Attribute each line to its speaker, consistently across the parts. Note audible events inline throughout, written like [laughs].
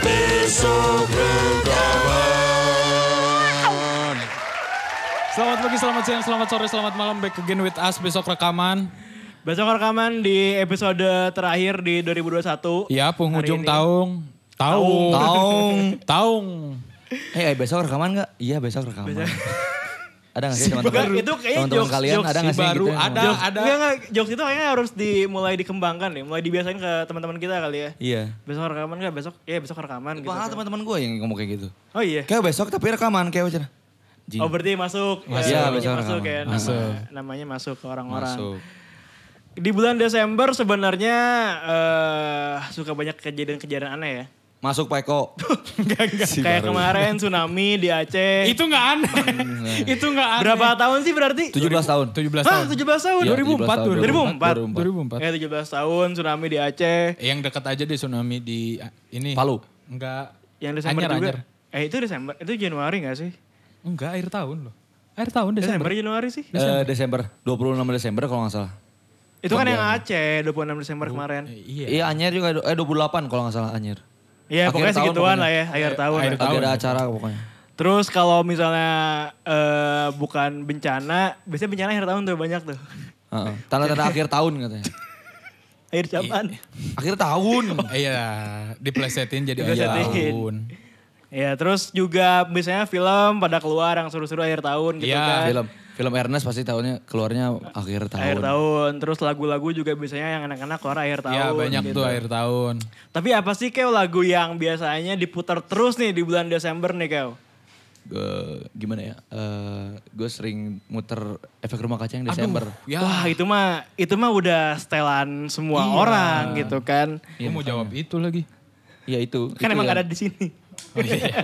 Speaker 1: Besok rekaman.
Speaker 2: Selamat pagi, selamat siang, selamat sore, selamat malam. Back again with us besok rekaman.
Speaker 3: Besok rekaman di episode terakhir di 2021.
Speaker 2: Ya, penghujung
Speaker 3: Hari ini.
Speaker 2: taung. Taung.
Speaker 4: Taung.
Speaker 2: Taung.
Speaker 4: Eh, eh, besok rekaman nggak? Iya besok rekaman. [laughs] ada nggak sih teman-teman?
Speaker 3: baru. Itu kayaknya
Speaker 4: Teman-teman
Speaker 3: jokes-
Speaker 4: kalian
Speaker 3: jokes
Speaker 4: ada
Speaker 2: si
Speaker 4: nggak sih
Speaker 2: baru
Speaker 4: gitu? yang-
Speaker 2: ada.
Speaker 3: Jokes, Enggak, enggak, jokes itu kayaknya harus dimulai dikembangkan nih, mulai dibiasain ke teman-teman kita kali ya.
Speaker 4: Iya.
Speaker 3: Besok rekaman enggak? Besok ya besok rekaman gitu.
Speaker 4: Bahkan teman-teman gue yang ngomong kayak gitu.
Speaker 3: Oh iya.
Speaker 4: Kayak besok tapi rekaman kayak wajar. Jing.
Speaker 3: Oh berarti masuk.
Speaker 4: Masuk.
Speaker 3: Ya,
Speaker 4: Iya, besok
Speaker 3: masuk
Speaker 4: rekaman.
Speaker 3: ya. nama-
Speaker 2: Masuk.
Speaker 3: Namanya masuk ke orang-orang.
Speaker 4: Masuk.
Speaker 3: Di bulan Desember sebenarnya eh suka banyak kejadian-kejadian aneh ya.
Speaker 4: Masuk Pak Eko. Si
Speaker 3: Kayak
Speaker 4: baru.
Speaker 3: kemarin tsunami di Aceh.
Speaker 2: Itu nggak aneh. Itu nggak aneh.
Speaker 3: Berapa tahun sih berarti?
Speaker 4: 17 tahun.
Speaker 2: 17
Speaker 3: Hah,
Speaker 2: tahun.
Speaker 3: 17 tahun.
Speaker 4: Iya,
Speaker 2: 2004 tuh.
Speaker 3: 2004.
Speaker 2: 2004.
Speaker 3: Ya 17 tahun tsunami di Aceh.
Speaker 2: Yang dekat aja deh tsunami di ah, ini.
Speaker 4: Palu.
Speaker 2: Enggak.
Speaker 3: Yang Desember
Speaker 2: Anyer,
Speaker 3: juga.
Speaker 2: Anyer.
Speaker 3: Eh itu Desember, itu Januari gak sih?
Speaker 2: Enggak, akhir tahun loh. Akhir tahun
Speaker 3: Desember,
Speaker 2: Desember.
Speaker 3: Januari sih.
Speaker 4: Eh, Desember, 26 Desember kalau nggak salah.
Speaker 3: Itu kan yang Aceh 26 Desember kemarin.
Speaker 2: Eh, Iya.
Speaker 4: Iya Anyer juga, eh 28 kalau nggak salah Anyer.
Speaker 3: Ya
Speaker 4: akhir
Speaker 3: pokoknya
Speaker 4: tahun
Speaker 3: segituan
Speaker 4: pokoknya.
Speaker 3: lah ya, akhir tahun.
Speaker 2: akhir
Speaker 3: lah.
Speaker 2: Tahun.
Speaker 4: Lagi ada acara pokoknya.
Speaker 3: Terus kalau misalnya eh, bukan bencana, biasanya bencana akhir tahun tuh banyak tuh. [laughs]
Speaker 4: Heeh. Tanda-tanda akhir tahun katanya.
Speaker 3: Akhir zaman.
Speaker 4: Akhir tahun.
Speaker 2: Iya, diplesetin jadi akhir
Speaker 3: Diplesetin.
Speaker 2: tahun.
Speaker 3: Ya terus juga biasanya film pada keluar yang seru-seru akhir tahun gitu
Speaker 2: Iya,
Speaker 3: kan.
Speaker 4: film film Ernest pasti tahunnya keluarnya akhir tahun.
Speaker 3: Akhir tahun. Terus lagu-lagu juga biasanya yang anak-anak keluar akhir tahun.
Speaker 2: Iya, banyak
Speaker 3: gitu.
Speaker 2: tuh akhir tahun.
Speaker 3: Tapi apa sih Keo lagu yang biasanya diputar terus nih di bulan Desember nih Keo?
Speaker 4: Gue- gimana ya? Eh gue sering muter efek rumah kaca yang Desember.
Speaker 2: Ya,
Speaker 3: Wah itu mah itu mah udah setelan semua
Speaker 4: Iya.
Speaker 3: orang gitu kan.
Speaker 2: gue mau jawab itu [laughs] lagi.
Speaker 4: Ya Oh, iya, itu.
Speaker 3: Kan
Speaker 4: itu
Speaker 3: emang
Speaker 4: yang-
Speaker 3: ada di sini. [laughs]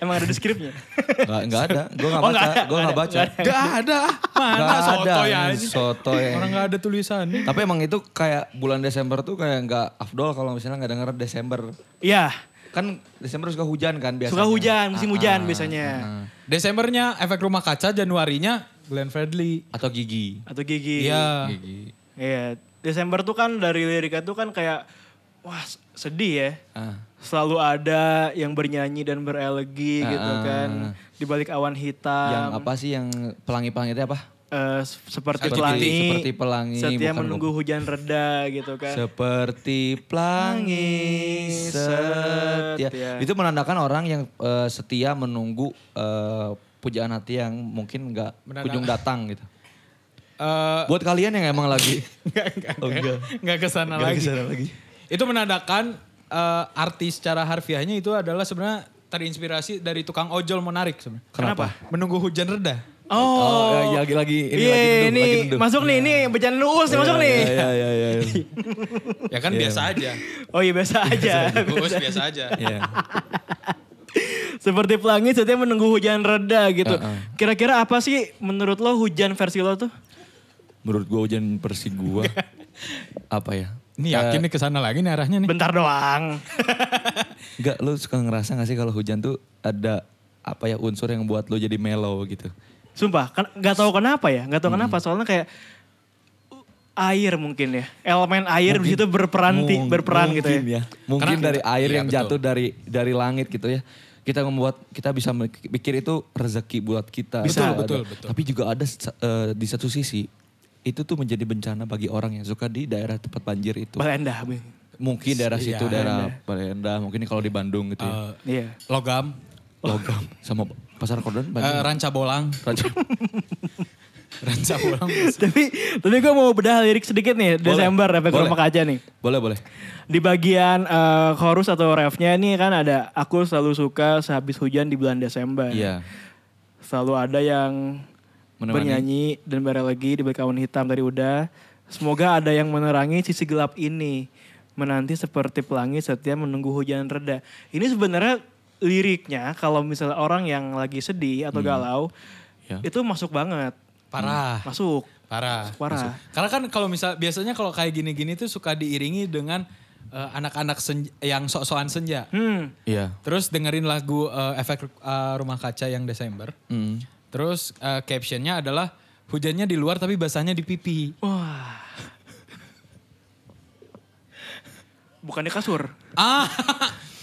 Speaker 3: emang ada di skripnya.
Speaker 4: Nggak, nggak ada. Gue nggak
Speaker 3: Oh,
Speaker 4: baca.
Speaker 3: nggak ada,
Speaker 4: Gue nggak
Speaker 3: nggak
Speaker 4: baca.
Speaker 3: ada,
Speaker 2: Gak ada. Mana
Speaker 4: Nggak ada.
Speaker 2: soto ya.
Speaker 4: Soto ya.
Speaker 2: Orang gak ada tulisannya.
Speaker 4: Tapi emang itu kayak bulan Desember tuh kayak nggak afdol kalau misalnya nggak denger Desember.
Speaker 3: Iya,
Speaker 4: Kan Desember suka hujan kan biasanya. ah,
Speaker 3: suka hujan, musim hujan biasanya.
Speaker 2: Desembernya efek rumah kaca, Januarinya Glenn Fredly.
Speaker 4: Atau gigi.
Speaker 3: Atau gigi.
Speaker 2: Iya.
Speaker 4: Gigi.
Speaker 3: Iya, Desember tuh kan dari liriknya tuh kan kayak wah sedih ya.
Speaker 4: Ah.
Speaker 3: Selalu ada yang bernyanyi dan
Speaker 4: Ah,
Speaker 3: berelegi gitu kan di balik awan hitam.
Speaker 4: yang apa sih yang pelangi-pelangi itu apa?
Speaker 3: Eh, se- seperti,
Speaker 4: Seperti-
Speaker 3: pelangi,
Speaker 4: seperti pelangi,
Speaker 3: setia
Speaker 4: bukan
Speaker 3: menunggu hujan reda gitu kan.
Speaker 4: Seperti pelangi setia.
Speaker 3: setia.
Speaker 4: Itu menandakan orang yang eh, setia menunggu eh, pujaan hati yang mungkin nggak
Speaker 2: Menandakan-
Speaker 4: kunjung datang gitu.
Speaker 2: Eh,
Speaker 4: Buat kalian yang emang lagi Oh, enggak.
Speaker 2: nggak kesana lagi. Itu menandakan eh, arti secara harfiahnya itu adalah sebenarnya terinspirasi dari tukang ojol menarik sebenarnya.
Speaker 4: Kenapa?
Speaker 2: Menunggu hujan reda. [laughs]
Speaker 3: Oh,
Speaker 4: Oh, ya, lagi lagi ini
Speaker 3: iya
Speaker 4: lagi duduk,
Speaker 3: ini
Speaker 4: lagi duduk. Iya.
Speaker 3: masuk nih ini bencana luus nih masuk nih.
Speaker 4: Ya ya ya.
Speaker 3: [laughs]
Speaker 4: ya.
Speaker 2: Ya kan biasa [laughs] aja.
Speaker 3: Oh iya
Speaker 4: [laughs]
Speaker 3: biasa aja.
Speaker 2: Gus biasa aja.
Speaker 4: Iya.
Speaker 3: [laughs] seperti pelangi setia menunggu hujan reda gitu.
Speaker 4: Uh-uh.
Speaker 3: Kira-kira apa sih menurut lo hujan versi lo tuh?
Speaker 4: Menurut gua hujan persi gua apa ya?
Speaker 2: Ini yakin nih kesana lagi nih arahnya nih.
Speaker 3: Bentar doang. [laughs]
Speaker 4: Enggak, lu suka ngerasa gak sih kalau hujan tuh ada apa ya unsur yang buat lu jadi mellow gitu.
Speaker 3: Sumpah, kan nggak tahu kenapa ya, nggak tahu
Speaker 4: Hmm.
Speaker 3: kenapa soalnya kayak uh, air mungkin ya, elemen air di situ berperan ti-
Speaker 4: Mung-
Speaker 3: berperan gitu
Speaker 4: mungkin
Speaker 3: ya.
Speaker 4: Mungkin
Speaker 2: Karena-
Speaker 4: dari air
Speaker 2: Iya,
Speaker 4: yang
Speaker 2: betul.
Speaker 4: jatuh dari dari langit gitu ya. Kita membuat kita bisa mikir itu rezeki buat kita.
Speaker 2: Bisa,
Speaker 4: Ada-
Speaker 2: betul,
Speaker 4: ada.
Speaker 2: betul.
Speaker 4: Tapi juga ada se- eh, di satu sisi itu tuh menjadi bencana bagi orang yang suka di daerah tempat banjir itu.
Speaker 3: Balenda.
Speaker 4: Mungkin daerah
Speaker 2: Iya,
Speaker 4: situ, daerah Baleendah, mungkin kalau di Bandung gitu ya.
Speaker 2: Eh,
Speaker 3: Iya.
Speaker 2: logam,
Speaker 4: Logam sama Pasar Kordon
Speaker 2: eh,
Speaker 4: Bandung.
Speaker 2: ranca bolang, ranca bolang.
Speaker 3: [laughs] tapi tapi gue mau bedah lirik sedikit nih Desember
Speaker 4: Boleh,
Speaker 3: efek
Speaker 4: boleh.
Speaker 3: rumah kaca nih.
Speaker 4: boleh, boleh.
Speaker 3: Di bagian eh, chorus atau refnya ini kan ada aku selalu suka sehabis hujan di bulan Desember.
Speaker 4: Iya.
Speaker 3: Selalu ada yang
Speaker 4: Menemani.
Speaker 3: bernyanyi dan berelegi di balik awan hitam tadi udah. Semoga ada yang menerangi sisi gelap ini. Menanti seperti pelangi setia menunggu hujan reda. Ini sebenarnya liriknya kalau misalnya orang yang lagi sedih atau galau
Speaker 4: Hmm. Ya. Ah.
Speaker 3: itu masuk banget.
Speaker 2: Parah.
Speaker 3: Masuk.
Speaker 2: Parah.
Speaker 3: Parah.
Speaker 2: Karena kan kalau misal biasanya kalau kayak gini-gini tuh suka diiringi dengan eh, anak-anak senj- yang sok-sokan senja.
Speaker 3: Hmm.
Speaker 4: Iya.
Speaker 2: Terus dengerin lagu eh, efek eh, rumah kaca yang Desember.
Speaker 4: Mm.
Speaker 2: Terus eh, captionnya adalah hujannya di luar tapi basahnya di pipi.
Speaker 3: Wah. Bukannya kasur.
Speaker 2: Ah.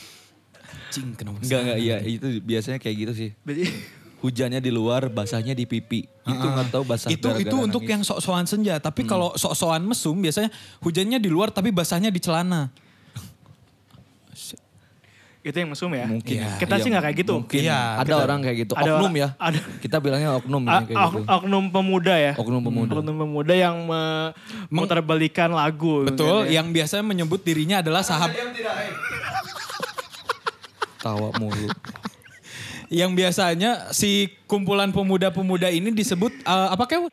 Speaker 2: [laughs] Cing kenapa?
Speaker 4: Enggak enggak iya itu biasanya kayak gitu sih.
Speaker 3: Berarti [laughs]
Speaker 4: Hujannya di luar, basahnya di pipi.
Speaker 3: Ah,
Speaker 4: Itu nggak tahu basah
Speaker 2: itu
Speaker 4: gara-gara
Speaker 2: itu untuk
Speaker 4: nangis. Hmm.
Speaker 2: yang sok-sokan senja, tapi kalau sok-sokan mesum biasanya hujannya di luar tapi basahnya di celana.
Speaker 3: itu yang mesum ya.
Speaker 4: mungkin
Speaker 2: Iya,
Speaker 4: ya.
Speaker 3: Kita
Speaker 4: Iya,
Speaker 3: sih nggak kayak gitu.
Speaker 4: Mungkin.
Speaker 2: Iya,
Speaker 4: ada
Speaker 2: kita-
Speaker 4: orang kayak gitu.
Speaker 3: ada-
Speaker 4: oknum ya.
Speaker 3: ada-
Speaker 4: Kita bilangnya oknum ya,
Speaker 3: Ah,
Speaker 4: kayak gitu.
Speaker 3: ok- oknum pemuda ya.
Speaker 4: Oknum pemuda.
Speaker 3: Oknum pemuda yang me- memutarbalikan lagu.
Speaker 2: Betul,
Speaker 3: Iya.
Speaker 2: yang biasanya menyebut dirinya adalah sahabat
Speaker 4: Tawa
Speaker 3: [laughs]
Speaker 4: mulu.
Speaker 2: yang biasanya si kumpulan pemuda-pemuda ini disebut eh, apa kayak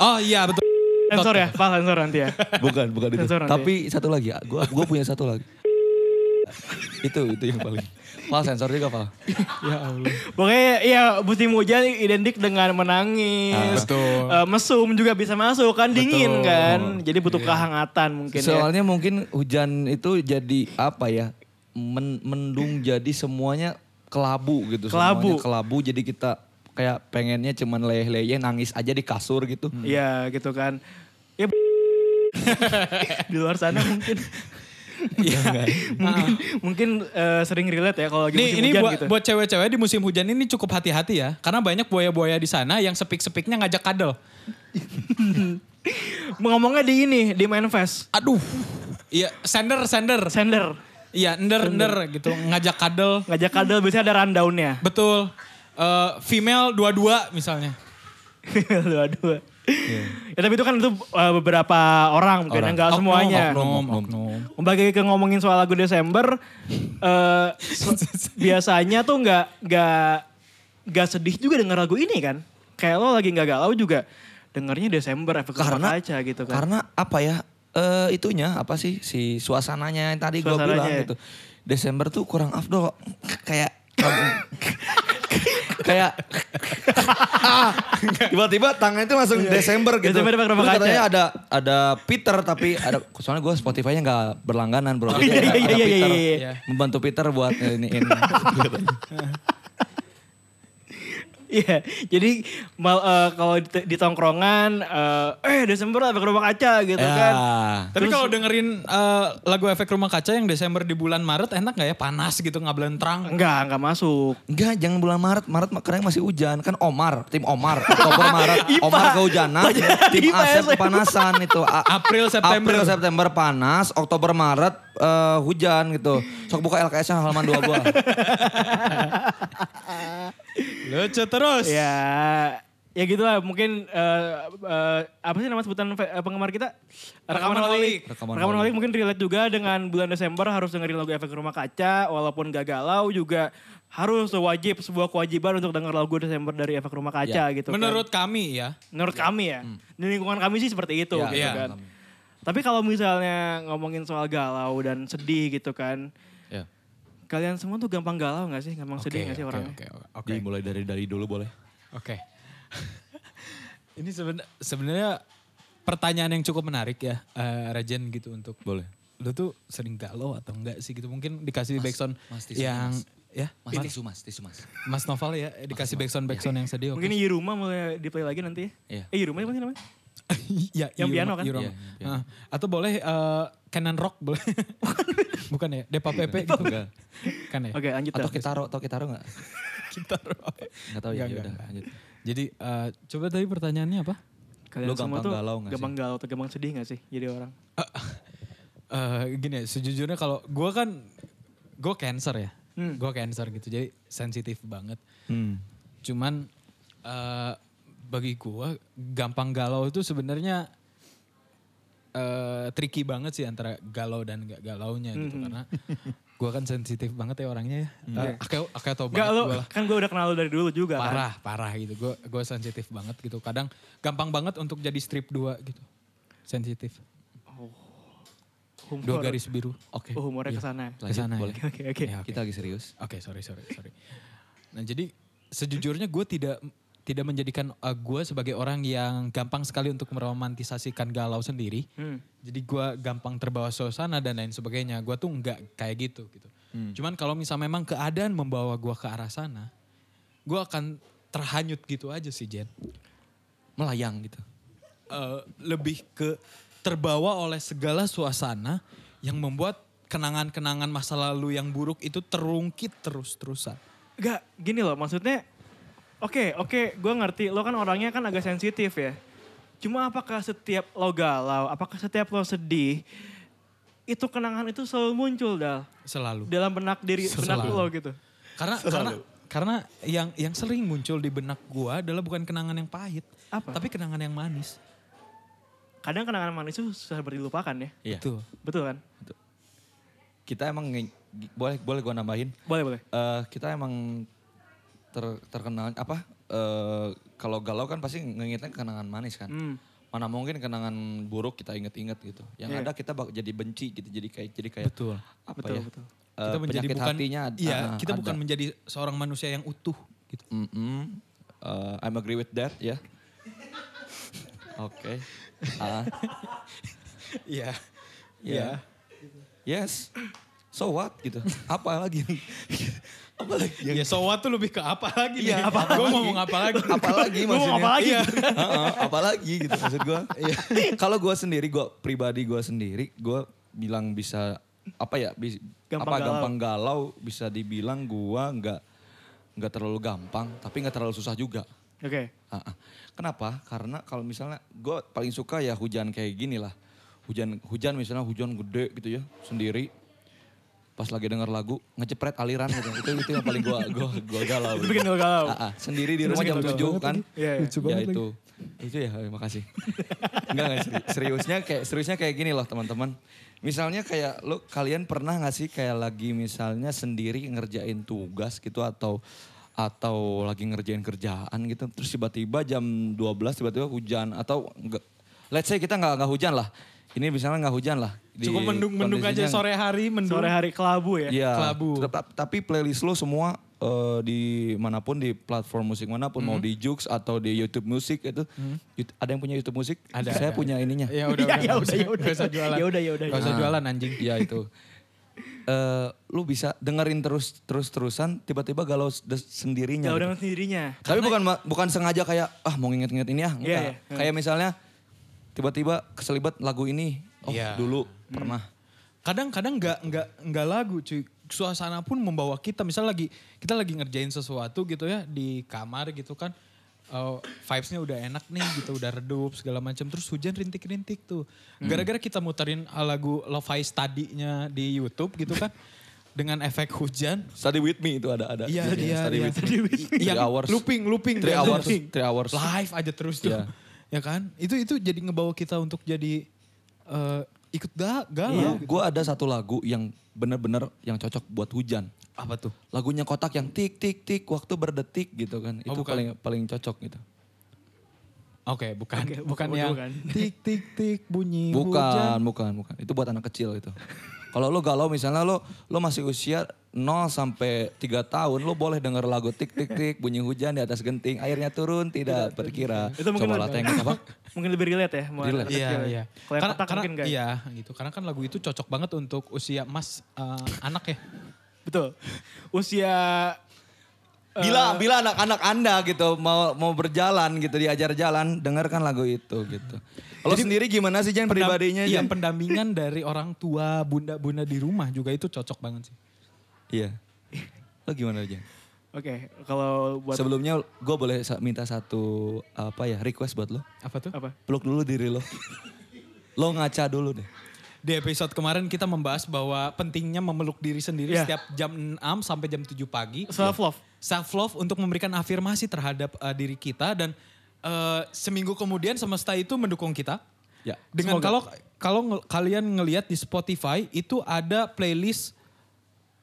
Speaker 2: Oh iya
Speaker 3: [laughs]
Speaker 2: betul.
Speaker 3: Sensor ya, Pak sensor nanti
Speaker 4: [laughs]
Speaker 3: ya.
Speaker 4: Bukan, bukan itu.
Speaker 3: Sensor nanti.
Speaker 4: Tapi satu lagi, ah, gua gua punya satu lagi. [laughs] itu itu yang paling. Fal sensor juga, Fal.
Speaker 2: Ya Allah.
Speaker 3: Pokoknya ya Busti Muja identik dengan menangis.
Speaker 2: Ah,
Speaker 3: betul.
Speaker 2: betul.
Speaker 3: mesum juga bisa masuk kan dingin
Speaker 4: Betul. Iya.
Speaker 3: kan. Jadi butuh kehangatan mungkin ya.
Speaker 4: Soalnya mungkin hujan itu jadi apa ya? men- mendung jadi semuanya kelabu gitu.
Speaker 3: Kelabu.
Speaker 4: Semuanya kelabu jadi kita kayak pengennya cuman leyeh-leyeh nangis aja di kasur gitu.
Speaker 3: Iya gitu kan. Ya [laughs] b- di luar sana mungkin Iya. mungkin mungkin eh, sering relate ya kalau lagi
Speaker 2: Iya. Ah. Nih
Speaker 3: musim
Speaker 2: ini
Speaker 3: hujan
Speaker 2: buat,
Speaker 3: gitu.
Speaker 2: buat cewek-cewek di musim hujan ini cukup hati-hati ya. Karena banyak buaya-buaya di sana yang sepik-sepiknya ngajak kadel.
Speaker 3: Ngomongnya di ini di manifest
Speaker 2: Aduh. Iya, sender sender.
Speaker 3: sender
Speaker 2: Iya, ender ender gitu ngajak kadel.
Speaker 3: ngajak kadal biasanya ada rundownnya. [laughs]
Speaker 2: Betul. Eh, female dua-dua misalnya.
Speaker 3: dua dua.
Speaker 2: Iya.
Speaker 3: Ya tapi itu kan itu eh, beberapa orang mungkin ya,
Speaker 4: Orang.
Speaker 3: enggak
Speaker 2: Oknum,
Speaker 3: semuanya.
Speaker 2: Oh, Oknum,
Speaker 4: Oknum.
Speaker 2: oknum.
Speaker 3: Bagi ke ngomongin soal lagu Desember, eh,
Speaker 2: [laughs]
Speaker 3: so- biasanya tuh nggak nggak nggak sedih juga denger lagu ini kan? Kayak lo lagi nggak galau juga dengernya Desember efek rumah
Speaker 4: Karena-
Speaker 3: kaca gitu kan?
Speaker 4: Karena apa ya? eh, itunya apa sih si suasananya yang tadi gua
Speaker 3: Suasananya
Speaker 4: bilang
Speaker 3: ya.
Speaker 4: gitu. Desember tuh kurang afdol kayak [laughs] kayak
Speaker 3: [laughs]
Speaker 4: tiba-tiba tangannya tuh langsung Desember gitu.
Speaker 3: Iya, Desember pakai ya? rambut
Speaker 4: Terus katanya
Speaker 3: kaca.
Speaker 4: ada ada Peter tapi ada soalnya gue Spotify-nya nggak berlangganan bro.
Speaker 3: Oh, iya,
Speaker 4: Jadi
Speaker 3: iya,
Speaker 4: ada- ada
Speaker 3: iya, iya,
Speaker 4: Peter,
Speaker 3: iya,
Speaker 2: iya.
Speaker 4: membantu Peter buat ini ini.
Speaker 3: [laughs] Iya, jadi mal- eh, kalau di, di tongkrongan, eh eh, Desember efek rumah kaca gitu
Speaker 2: Ya.
Speaker 3: kan?
Speaker 2: Tapi kalau dengerin eh, lagu efek rumah kaca yang Desember di bulan Maret enak nggak ya? Panas gitu nggak belentrang.
Speaker 3: Enggak, enggak masuk.
Speaker 4: Enggak, jangan bulan Maret. Maret makanya masih hujan. Kan Omar, tim
Speaker 2: [laughs]
Speaker 4: Omar. Oktober, Maret. Omar kehujanan, tim
Speaker 3: IPA,
Speaker 4: Asep
Speaker 3: SM.
Speaker 4: kepanasan itu. A-
Speaker 2: April, September.
Speaker 4: April, September panas, Oktober, Maret eh, hujan gitu. Sok buka LKS-nya halaman 2 [laughs] gua.
Speaker 2: Lucu terus.
Speaker 3: Ya, ya gitulah mungkin eh, eh, apa sih nama sebutan fe- eh, penggemar kita?
Speaker 2: Rekamanholic.
Speaker 4: Rekamanholic.
Speaker 3: Rekamanholic mungkin relate juga dengan bulan Desember harus dengerin lagu efek rumah kaca walaupun gak galau juga harus tuh wajib sebuah kewajiban untuk denger lagu Desember dari efek rumah kaca gitu.
Speaker 2: Ya.
Speaker 3: kan.
Speaker 2: Menurut kami ya.
Speaker 3: menurut kami ya. Di lingkungan kami sih seperti itu
Speaker 4: Ya,
Speaker 3: gitu
Speaker 2: iya.
Speaker 3: kan. Tapi kalau misalnya ngomongin soal galau dan sedih gitu kan,
Speaker 4: Ya.
Speaker 3: kalian semua tuh gampang galau gak sih? Gampang sedih gak sih
Speaker 2: oke,
Speaker 3: orangnya?
Speaker 2: Oke, oke, oke.
Speaker 4: Dimulai dari dari dulu boleh.
Speaker 2: Oke. [laughs] Ini seben- sebenarnya pertanyaan yang cukup menarik ya, eh, Rajen gitu untuk
Speaker 4: Boleh.
Speaker 2: lu tuh sering galau atau enggak sih gitu mungkin dikasih backsound
Speaker 4: Mas Tisu,
Speaker 2: yang
Speaker 4: Mas.
Speaker 2: ya
Speaker 4: Mas, tisu mas, tisu mas.
Speaker 2: Mas Noval ya eh, dikasih backsound backsound yang sedih.
Speaker 3: Mungkin di rumah mulai di play lagi nanti ya.
Speaker 4: Iya.
Speaker 3: Eh, di rumah apa sih namanya?
Speaker 2: [laughs] ya,
Speaker 3: Yang
Speaker 2: Iroma-
Speaker 3: piano kan?
Speaker 2: Iroma.
Speaker 4: Iya, yang piano.
Speaker 2: Ah, atau boleh eh, Canon Rock boleh. [laughs] Bukan ya, Depa Pepe gitu.
Speaker 4: Iya, Enggak.
Speaker 2: Kan ya?
Speaker 3: Oke, lanjut.
Speaker 4: Atau
Speaker 3: Dal.
Speaker 4: kita tau kita enggak?
Speaker 2: Kita rock.
Speaker 4: Enggak tahu ya,
Speaker 2: Enggak,
Speaker 4: yaudah
Speaker 2: enggak.
Speaker 4: lanjut.
Speaker 2: Jadi eh, coba tadi pertanyaannya
Speaker 4: [laughs]
Speaker 2: apa?
Speaker 3: Kalian
Speaker 4: Lu
Speaker 3: semua
Speaker 4: gampang
Speaker 3: tuh
Speaker 4: galau nggak sih?
Speaker 3: gampang galau atau gampang sedih gak sih jadi orang?
Speaker 2: Eh gini ya, sejujurnya kalau gue kan gue cancer ya, gue cancer gitu, jadi sensitif banget.
Speaker 4: Hmm.
Speaker 2: Cuman eh bagi gue gampang galau itu sebenarnya eh tricky banget sih antara galau dan gak galaunya gitu karena gue kan sensitif banget ya orangnya ya.
Speaker 3: Iya.
Speaker 2: Aku tau
Speaker 3: Enggak
Speaker 2: banget
Speaker 3: lo,
Speaker 2: Oh, gua lah.
Speaker 3: kan gue udah kenal lo dari dulu juga kan?
Speaker 2: Parah, parah gitu. Gue gue sensitif banget gitu. Kadang gampang banget untuk jadi strip dua gitu. Sensitif.
Speaker 3: Humor.
Speaker 2: Dua garis biru. Oke.
Speaker 3: Oh, humornya
Speaker 2: Iya.
Speaker 3: kesana.
Speaker 2: Kesana ya.
Speaker 4: boleh.
Speaker 3: [laughs] Oke, oke, oke.
Speaker 2: Ya, oke.
Speaker 4: Kita lagi serius.
Speaker 2: Oke, sorry, sorry, sorry. Nah, jadi sejujurnya gue tidak tidak menjadikan uh, gue sebagai orang yang gampang sekali untuk meromantisasikan galau sendiri.
Speaker 3: Hmm.
Speaker 2: Jadi gue gampang terbawa suasana dan lain sebagainya. Gue tuh nggak kayak gitu gitu. Cuman kalau misal memang keadaan membawa gue ke arah sana, gue akan terhanyut gitu aja sih Jen.
Speaker 4: Melayang gitu.
Speaker 2: Eh, lebih ke terbawa oleh segala suasana yang membuat kenangan-kenangan masa lalu yang buruk itu terungkit terus-terusan.
Speaker 3: Gak, gini loh maksudnya. Oke, oke, gua ngerti. Lo kan orangnya kan agak sensitif ya. Cuma apakah setiap lo galau, apakah setiap lo sedih, itu kenangan itu selalu muncul dal
Speaker 2: Selalu.
Speaker 3: dalam benak diri benak
Speaker 2: Selalu.
Speaker 3: lo gitu.
Speaker 2: Karena karena karena yang yang sering muncul di benak gua adalah bukan kenangan yang pahit,
Speaker 3: Apa?
Speaker 2: tapi kenangan yang manis.
Speaker 3: Kadang kenangan manis itu susah berdilupakan ya.
Speaker 4: Iya.
Speaker 2: Betul.
Speaker 3: Betul kan?
Speaker 4: Kita emang nge- boleh boleh gua nambahin.
Speaker 3: Boleh, boleh.
Speaker 4: Eh, kita emang ter- terkenal apa? eh, kalau galau kan pasti ngingetnya kenangan manis kan.
Speaker 3: Hmm.
Speaker 4: Mana mungkin kenangan buruk kita inget-inget gitu. Yang ada kita bak jadi benci gitu, jadi kayak jadi kayak
Speaker 2: Iya. Betul.
Speaker 4: apa
Speaker 3: Betul,
Speaker 4: ya?
Speaker 3: betul.
Speaker 4: eh, penyakit hatinya ad-
Speaker 2: iya,
Speaker 4: ah,
Speaker 2: kita
Speaker 4: ada.
Speaker 2: bukan menjadi seorang manusia yang utuh gitu.
Speaker 4: Mm-mm. Eh, I'm agree with that
Speaker 2: [laughs]
Speaker 4: ya. Oke. Ah,
Speaker 2: Iya.
Speaker 4: ya. Yes. So what gitu. Apa lagi? [laughs] apa lagi?
Speaker 2: Ya so what tuh lebih ke apa lagi nih?
Speaker 4: Iya,
Speaker 2: Gua
Speaker 4: apa lagi?
Speaker 2: mau ngomong apa lagi?
Speaker 4: [laughs] apalagi
Speaker 3: Gua mau
Speaker 4: maksudnya.
Speaker 3: apalagi? Iya.
Speaker 4: Iya. Heeh, apalagi gitu maksud gue. [laughs] Kalau gue sendiri, gue pribadi gue sendiri, gue bilang bisa apa ya bis-
Speaker 3: Gampang
Speaker 4: apa
Speaker 3: galau.
Speaker 4: gampang galau bisa dibilang gue nggak nggak terlalu gampang tapi nggak terlalu susah juga.
Speaker 3: Oke.
Speaker 4: Heeh. Kenapa? Karena kalau misalnya gue paling suka ya hujan kayak gini lah. Hujan hujan misalnya hujan gede gitu ya sendiri. Pas lagi denger lagu ngejepret aliran gitu. itu itu yang paling gue gua gua galau.
Speaker 3: Itu bikin lo galau.
Speaker 4: Ah, ah. sendiri di rumah jam
Speaker 3: Bikin lo galau
Speaker 4: 7 kan.
Speaker 3: Iya, iya.
Speaker 4: ya itu. Itu ya, makasih. [laughs] Enggak enggak seri- seriusnya kayak seriusnya kayak gini loh teman-teman. Misalnya kayak lo kalian pernah nggak sih kayak lagi misalnya sendiri ngerjain tugas gitu atau atau lagi ngerjain kerjaan gitu terus tiba-tiba jam 12 tiba-tiba hujan atau enggak let's say kita nggak nggak hujan lah. Ini misalnya nggak hujan lah. di
Speaker 2: Cukup mendung-mendung aja
Speaker 4: kondisinya-
Speaker 2: sore hari mendung.
Speaker 3: Sore hari kelabu ya.
Speaker 4: Iya.
Speaker 2: Kelabu.
Speaker 4: tetap- tapi playlist lo semua eh, di manapun di platform musik manapun mau
Speaker 2: Hmm.
Speaker 4: di Jux atau di YouTube Music itu Yut- ada yang punya YouTube Music?
Speaker 2: Ada,
Speaker 4: Saya
Speaker 2: ada.
Speaker 4: punya ininya.
Speaker 2: Ya udah, udah,
Speaker 3: Ya, ya
Speaker 2: nggak
Speaker 3: udah,
Speaker 2: usah-
Speaker 3: ya udah.
Speaker 2: nggak usah jualan. Ah.
Speaker 3: Ya udah, ya udah,
Speaker 2: Nggak usah jualan anjing.
Speaker 4: Iya itu. Eh lu bisa dengerin terus terus terusan tiba-tiba galau s- des-
Speaker 2: Ya
Speaker 4: sendirinya.
Speaker 3: Galau
Speaker 4: gitu.
Speaker 3: dengan sendirinya.
Speaker 4: Tapi bukan ma- bukan sengaja kayak ah mau nginget-nginget ini ya. Enggak.
Speaker 3: Iya, iya.
Speaker 4: Kayak misalnya tiba-tiba keselibat lagu ini. Oh,
Speaker 2: Iya.
Speaker 4: dulu pernah.
Speaker 2: kadang-kadang nggak nggak nggak lagu cuy suasana pun membawa kita misal lagi kita lagi ngerjain sesuatu gitu ya di kamar gitu kan eh, vibes-nya udah enak nih gitu udah redup segala macam terus hujan rintik-rintik tuh
Speaker 4: Hmm.
Speaker 2: gara-gara kita muterin eh, lagu lo-fi study-nya di YouTube gitu kan dengan efek hujan
Speaker 4: Study with me itu ada ada.
Speaker 2: Iya,
Speaker 4: judulnya,
Speaker 2: iya,
Speaker 4: Study
Speaker 2: iya.
Speaker 4: with me.
Speaker 2: Study with me.
Speaker 4: Three
Speaker 2: [laughs] Yang
Speaker 4: hours.
Speaker 2: looping, looping
Speaker 4: Three
Speaker 2: biasanya.
Speaker 4: hours, three hours.
Speaker 2: live aja terus tuh.
Speaker 4: Iya.
Speaker 2: Ya kan? Itu itu jadi ngebawa kita untuk jadi eh, ikut ga-
Speaker 4: Iya.
Speaker 2: galau. gitu.
Speaker 4: Gue ada satu lagu yang bener-bener yang cocok buat hujan.
Speaker 2: Apa tuh?
Speaker 4: Lagunya kotak yang tik tik tik waktu berdetik gitu kan.
Speaker 2: Oh,
Speaker 4: Itu
Speaker 2: bukan.
Speaker 4: paling paling cocok gitu.
Speaker 2: Oke, bukan
Speaker 3: Oke, kan.
Speaker 2: bukan
Speaker 3: bukan-
Speaker 2: yang [laughs]
Speaker 3: bukan.
Speaker 2: tik tik tik bunyi
Speaker 4: Bukan,
Speaker 2: hujan.
Speaker 4: bukan, bukan. Itu buat anak kecil itu. [laughs] Kalau lo galau misalnya lo lo masih usia 0 sampai 3 tahun lo boleh denger lagu tik tik tik bunyi hujan di atas genting airnya turun tidak berkira.
Speaker 3: Itu mungkin
Speaker 4: Coba lah
Speaker 3: lebih-
Speaker 4: [laughs] tengok apa?
Speaker 3: [laughs] Mungkin lebih relate ya. sama anak
Speaker 4: Relate.
Speaker 2: Iya,
Speaker 3: kecil ya.
Speaker 2: iya.
Speaker 3: Kalau yang kotak mungkin nggak ya?
Speaker 2: Iya, gitu. Karena kan lagu itu cocok banget untuk usia emas eh, anak ya.
Speaker 3: Betul. Usia
Speaker 4: Bila bila anak-anak Anda gitu mau mau berjalan gitu diajar jalan dengarkan lagu itu gitu. Lo sendiri gimana sih Jan
Speaker 2: Pendam-
Speaker 4: pribadinya?
Speaker 2: Iya,
Speaker 4: Jan?
Speaker 2: pendampingan dari orang tua, bunda-bunda di rumah juga itu cocok banget sih.
Speaker 4: Iya. Lo gimana aja?
Speaker 3: Oke, kalau buat
Speaker 4: Sebelumnya gue boleh sa- minta satu apa ya request buat lo.
Speaker 2: Apa tuh?
Speaker 3: apa?
Speaker 4: Peluk dulu diri lo. Lo ngaca dulu deh.
Speaker 2: Di episode kemarin kita membahas bahwa pentingnya memeluk diri sendiri
Speaker 3: Iya.
Speaker 2: setiap jam 6 sampai jam 7 pagi.
Speaker 4: Iya.
Speaker 3: Self love.
Speaker 2: Self love untuk memberikan afirmasi terhadap eh, diri kita dan eh, seminggu kemudian semesta itu mendukung kita.
Speaker 4: Ya.
Speaker 2: Dengan kalau kalau nge- kalian ngelihat di Spotify itu ada playlist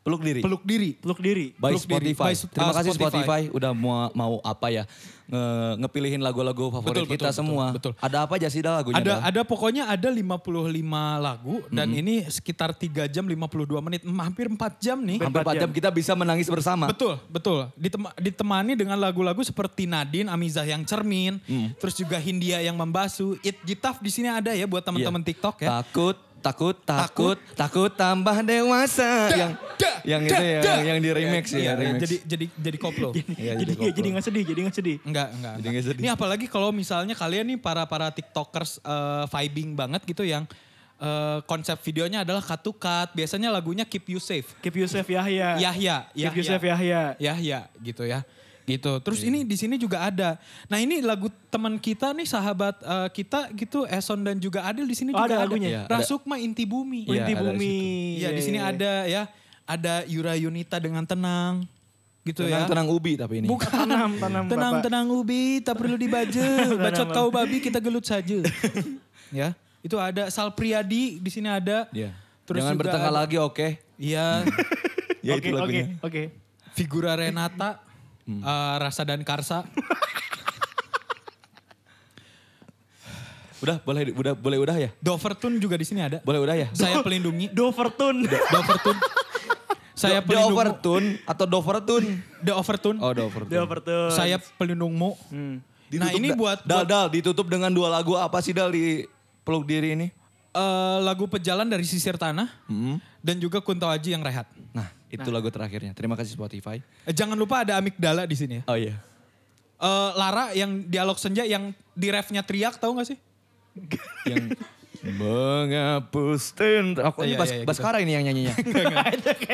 Speaker 4: Peluk diri.
Speaker 1: Peluk diri.
Speaker 3: peluk diri.
Speaker 4: By
Speaker 1: peluk diri. By
Speaker 4: Spotify.
Speaker 1: Sp-
Speaker 4: Terima
Speaker 1: ah,
Speaker 4: kasih
Speaker 1: Spotify.
Speaker 4: Spotify udah mau mau apa ya nge- ngepilihin lagu-lagu
Speaker 1: Betul,
Speaker 4: favorit
Speaker 1: betul,
Speaker 4: kita
Speaker 1: betul,
Speaker 4: semua.
Speaker 2: betul.
Speaker 4: Ada apa aja sih dah lagunya?
Speaker 2: Ada
Speaker 4: Dal?
Speaker 2: ada pokoknya ada 55 lagu dan ini sekitar 3 jam 52 menit, em, hampir 4 jam nih.
Speaker 4: hampir empat jam kita bisa menangis bersama.
Speaker 2: Betul, betul. Ditema- ditemani dengan lagu-lagu seperti Nadine Amizah yang cermin,
Speaker 4: Mm.
Speaker 2: terus juga Hindia yang membasu. It Gitaf di sini ada ya buat teman-teman
Speaker 4: Iya.
Speaker 2: TikTok ya.
Speaker 4: Takut, takut, takut, takut tambah dewasa. yang
Speaker 1: dah,
Speaker 4: yang
Speaker 1: dah,
Speaker 4: itu ya,
Speaker 1: dah.
Speaker 4: yang di remix ya,
Speaker 2: Iya,
Speaker 4: remix.
Speaker 2: jadi jadi jadi
Speaker 4: [laughs]
Speaker 2: koplo.
Speaker 4: [laughs]
Speaker 3: [laughs]
Speaker 4: Iya,
Speaker 3: jadi
Speaker 4: jadi
Speaker 3: jadi nggak sedih, jadi nggak sedih.
Speaker 2: Enggak, enggak.
Speaker 4: Jadi
Speaker 2: enggak.
Speaker 4: nggak sedih.
Speaker 2: Ini apalagi kalau misalnya kalian nih para para TikTokers eh, vibing banget gitu yang eh, konsep videonya adalah katukat. Biasanya lagunya Keep You Safe.
Speaker 3: Keep Yusuf Yahya.
Speaker 4: Iya,
Speaker 2: Yahya,
Speaker 3: Iya. Keep ya.
Speaker 2: Yahya.
Speaker 3: Yusuf Yahya.
Speaker 2: Yahya gitu ya. Gitu. Terus
Speaker 3: Iya.
Speaker 2: ini di sini juga ada. Nah, ini lagu teman kita nih sahabat eh, kita gitu Eson dan juga Adil di sini
Speaker 3: Oh,
Speaker 2: juga
Speaker 3: ada lagunya.
Speaker 4: Iya, ada.
Speaker 2: Rasukma Inti Bumi.
Speaker 4: Iya,
Speaker 3: Inti
Speaker 4: ada di
Speaker 3: Bumi.
Speaker 2: Iya, di
Speaker 3: Iya,
Speaker 2: sini
Speaker 3: iya.
Speaker 2: ada ya. Ada Yura Yunita dengan tenang. Gitu
Speaker 4: tenang,
Speaker 2: ya.
Speaker 4: tenang ubi tapi ini.
Speaker 2: Bukan.
Speaker 3: Tanam, tanam,
Speaker 2: tenang,
Speaker 3: Bapak.
Speaker 2: tenang ubi, tak perlu
Speaker 3: [laughs]
Speaker 2: dibaju. Bacot kau babi, kita gelut saja. ya. Itu ada Sal Priadi di sini ada.
Speaker 4: Iya.
Speaker 2: Terus
Speaker 4: Jangan
Speaker 2: juga
Speaker 4: bertengkar
Speaker 2: ada-
Speaker 4: lagi, oke? [laughs]
Speaker 2: Iya.
Speaker 4: Ya
Speaker 3: Oke, oke,
Speaker 4: itu lagunya.
Speaker 3: oke.
Speaker 2: Figura Renata,
Speaker 4: Hmm.
Speaker 2: eh, Rasa dan Karsa.
Speaker 4: Udah, boleh udah boleh udah ya?
Speaker 2: Dovertun juga di sini ada.
Speaker 4: Boleh udah ya?
Speaker 2: Saya pelindungi.
Speaker 3: Dovertune. [laughs]
Speaker 2: Dovertun. Saya
Speaker 4: Do- The
Speaker 2: pelindungmu.
Speaker 4: Overtune atau Dovertune?
Speaker 2: The Overtun.
Speaker 4: Oh, The Overtune.
Speaker 3: Dovertune.
Speaker 2: Saya pelindungmu.
Speaker 3: Hmm.
Speaker 2: Nah
Speaker 4: Ditutup
Speaker 2: ini
Speaker 4: da-
Speaker 2: buat,
Speaker 4: Dal,
Speaker 2: buat,
Speaker 4: Dal, ditutup dengan dua lagu apa sih Dal di peluk diri ini?
Speaker 2: eh, lagu pejalan dari sisir tanah
Speaker 4: Mm-hmm.
Speaker 2: dan juga Kunto Aji yang rehat.
Speaker 4: Nah, itu lagu terakhirnya. Terima kasih Spotify.
Speaker 2: Eh, Jangan lupa ada amigdala di sini ya.
Speaker 4: Oh iya.
Speaker 2: Eh, Lara yang dialog senja yang di refnya teriak tahu gak sih?
Speaker 4: Yang menghapus tinta. Aku Oh, ini
Speaker 2: Iya,
Speaker 4: Bas,
Speaker 2: iya, iya,
Speaker 4: Baskara ini yang
Speaker 2: [laughs]
Speaker 4: nyanyinya.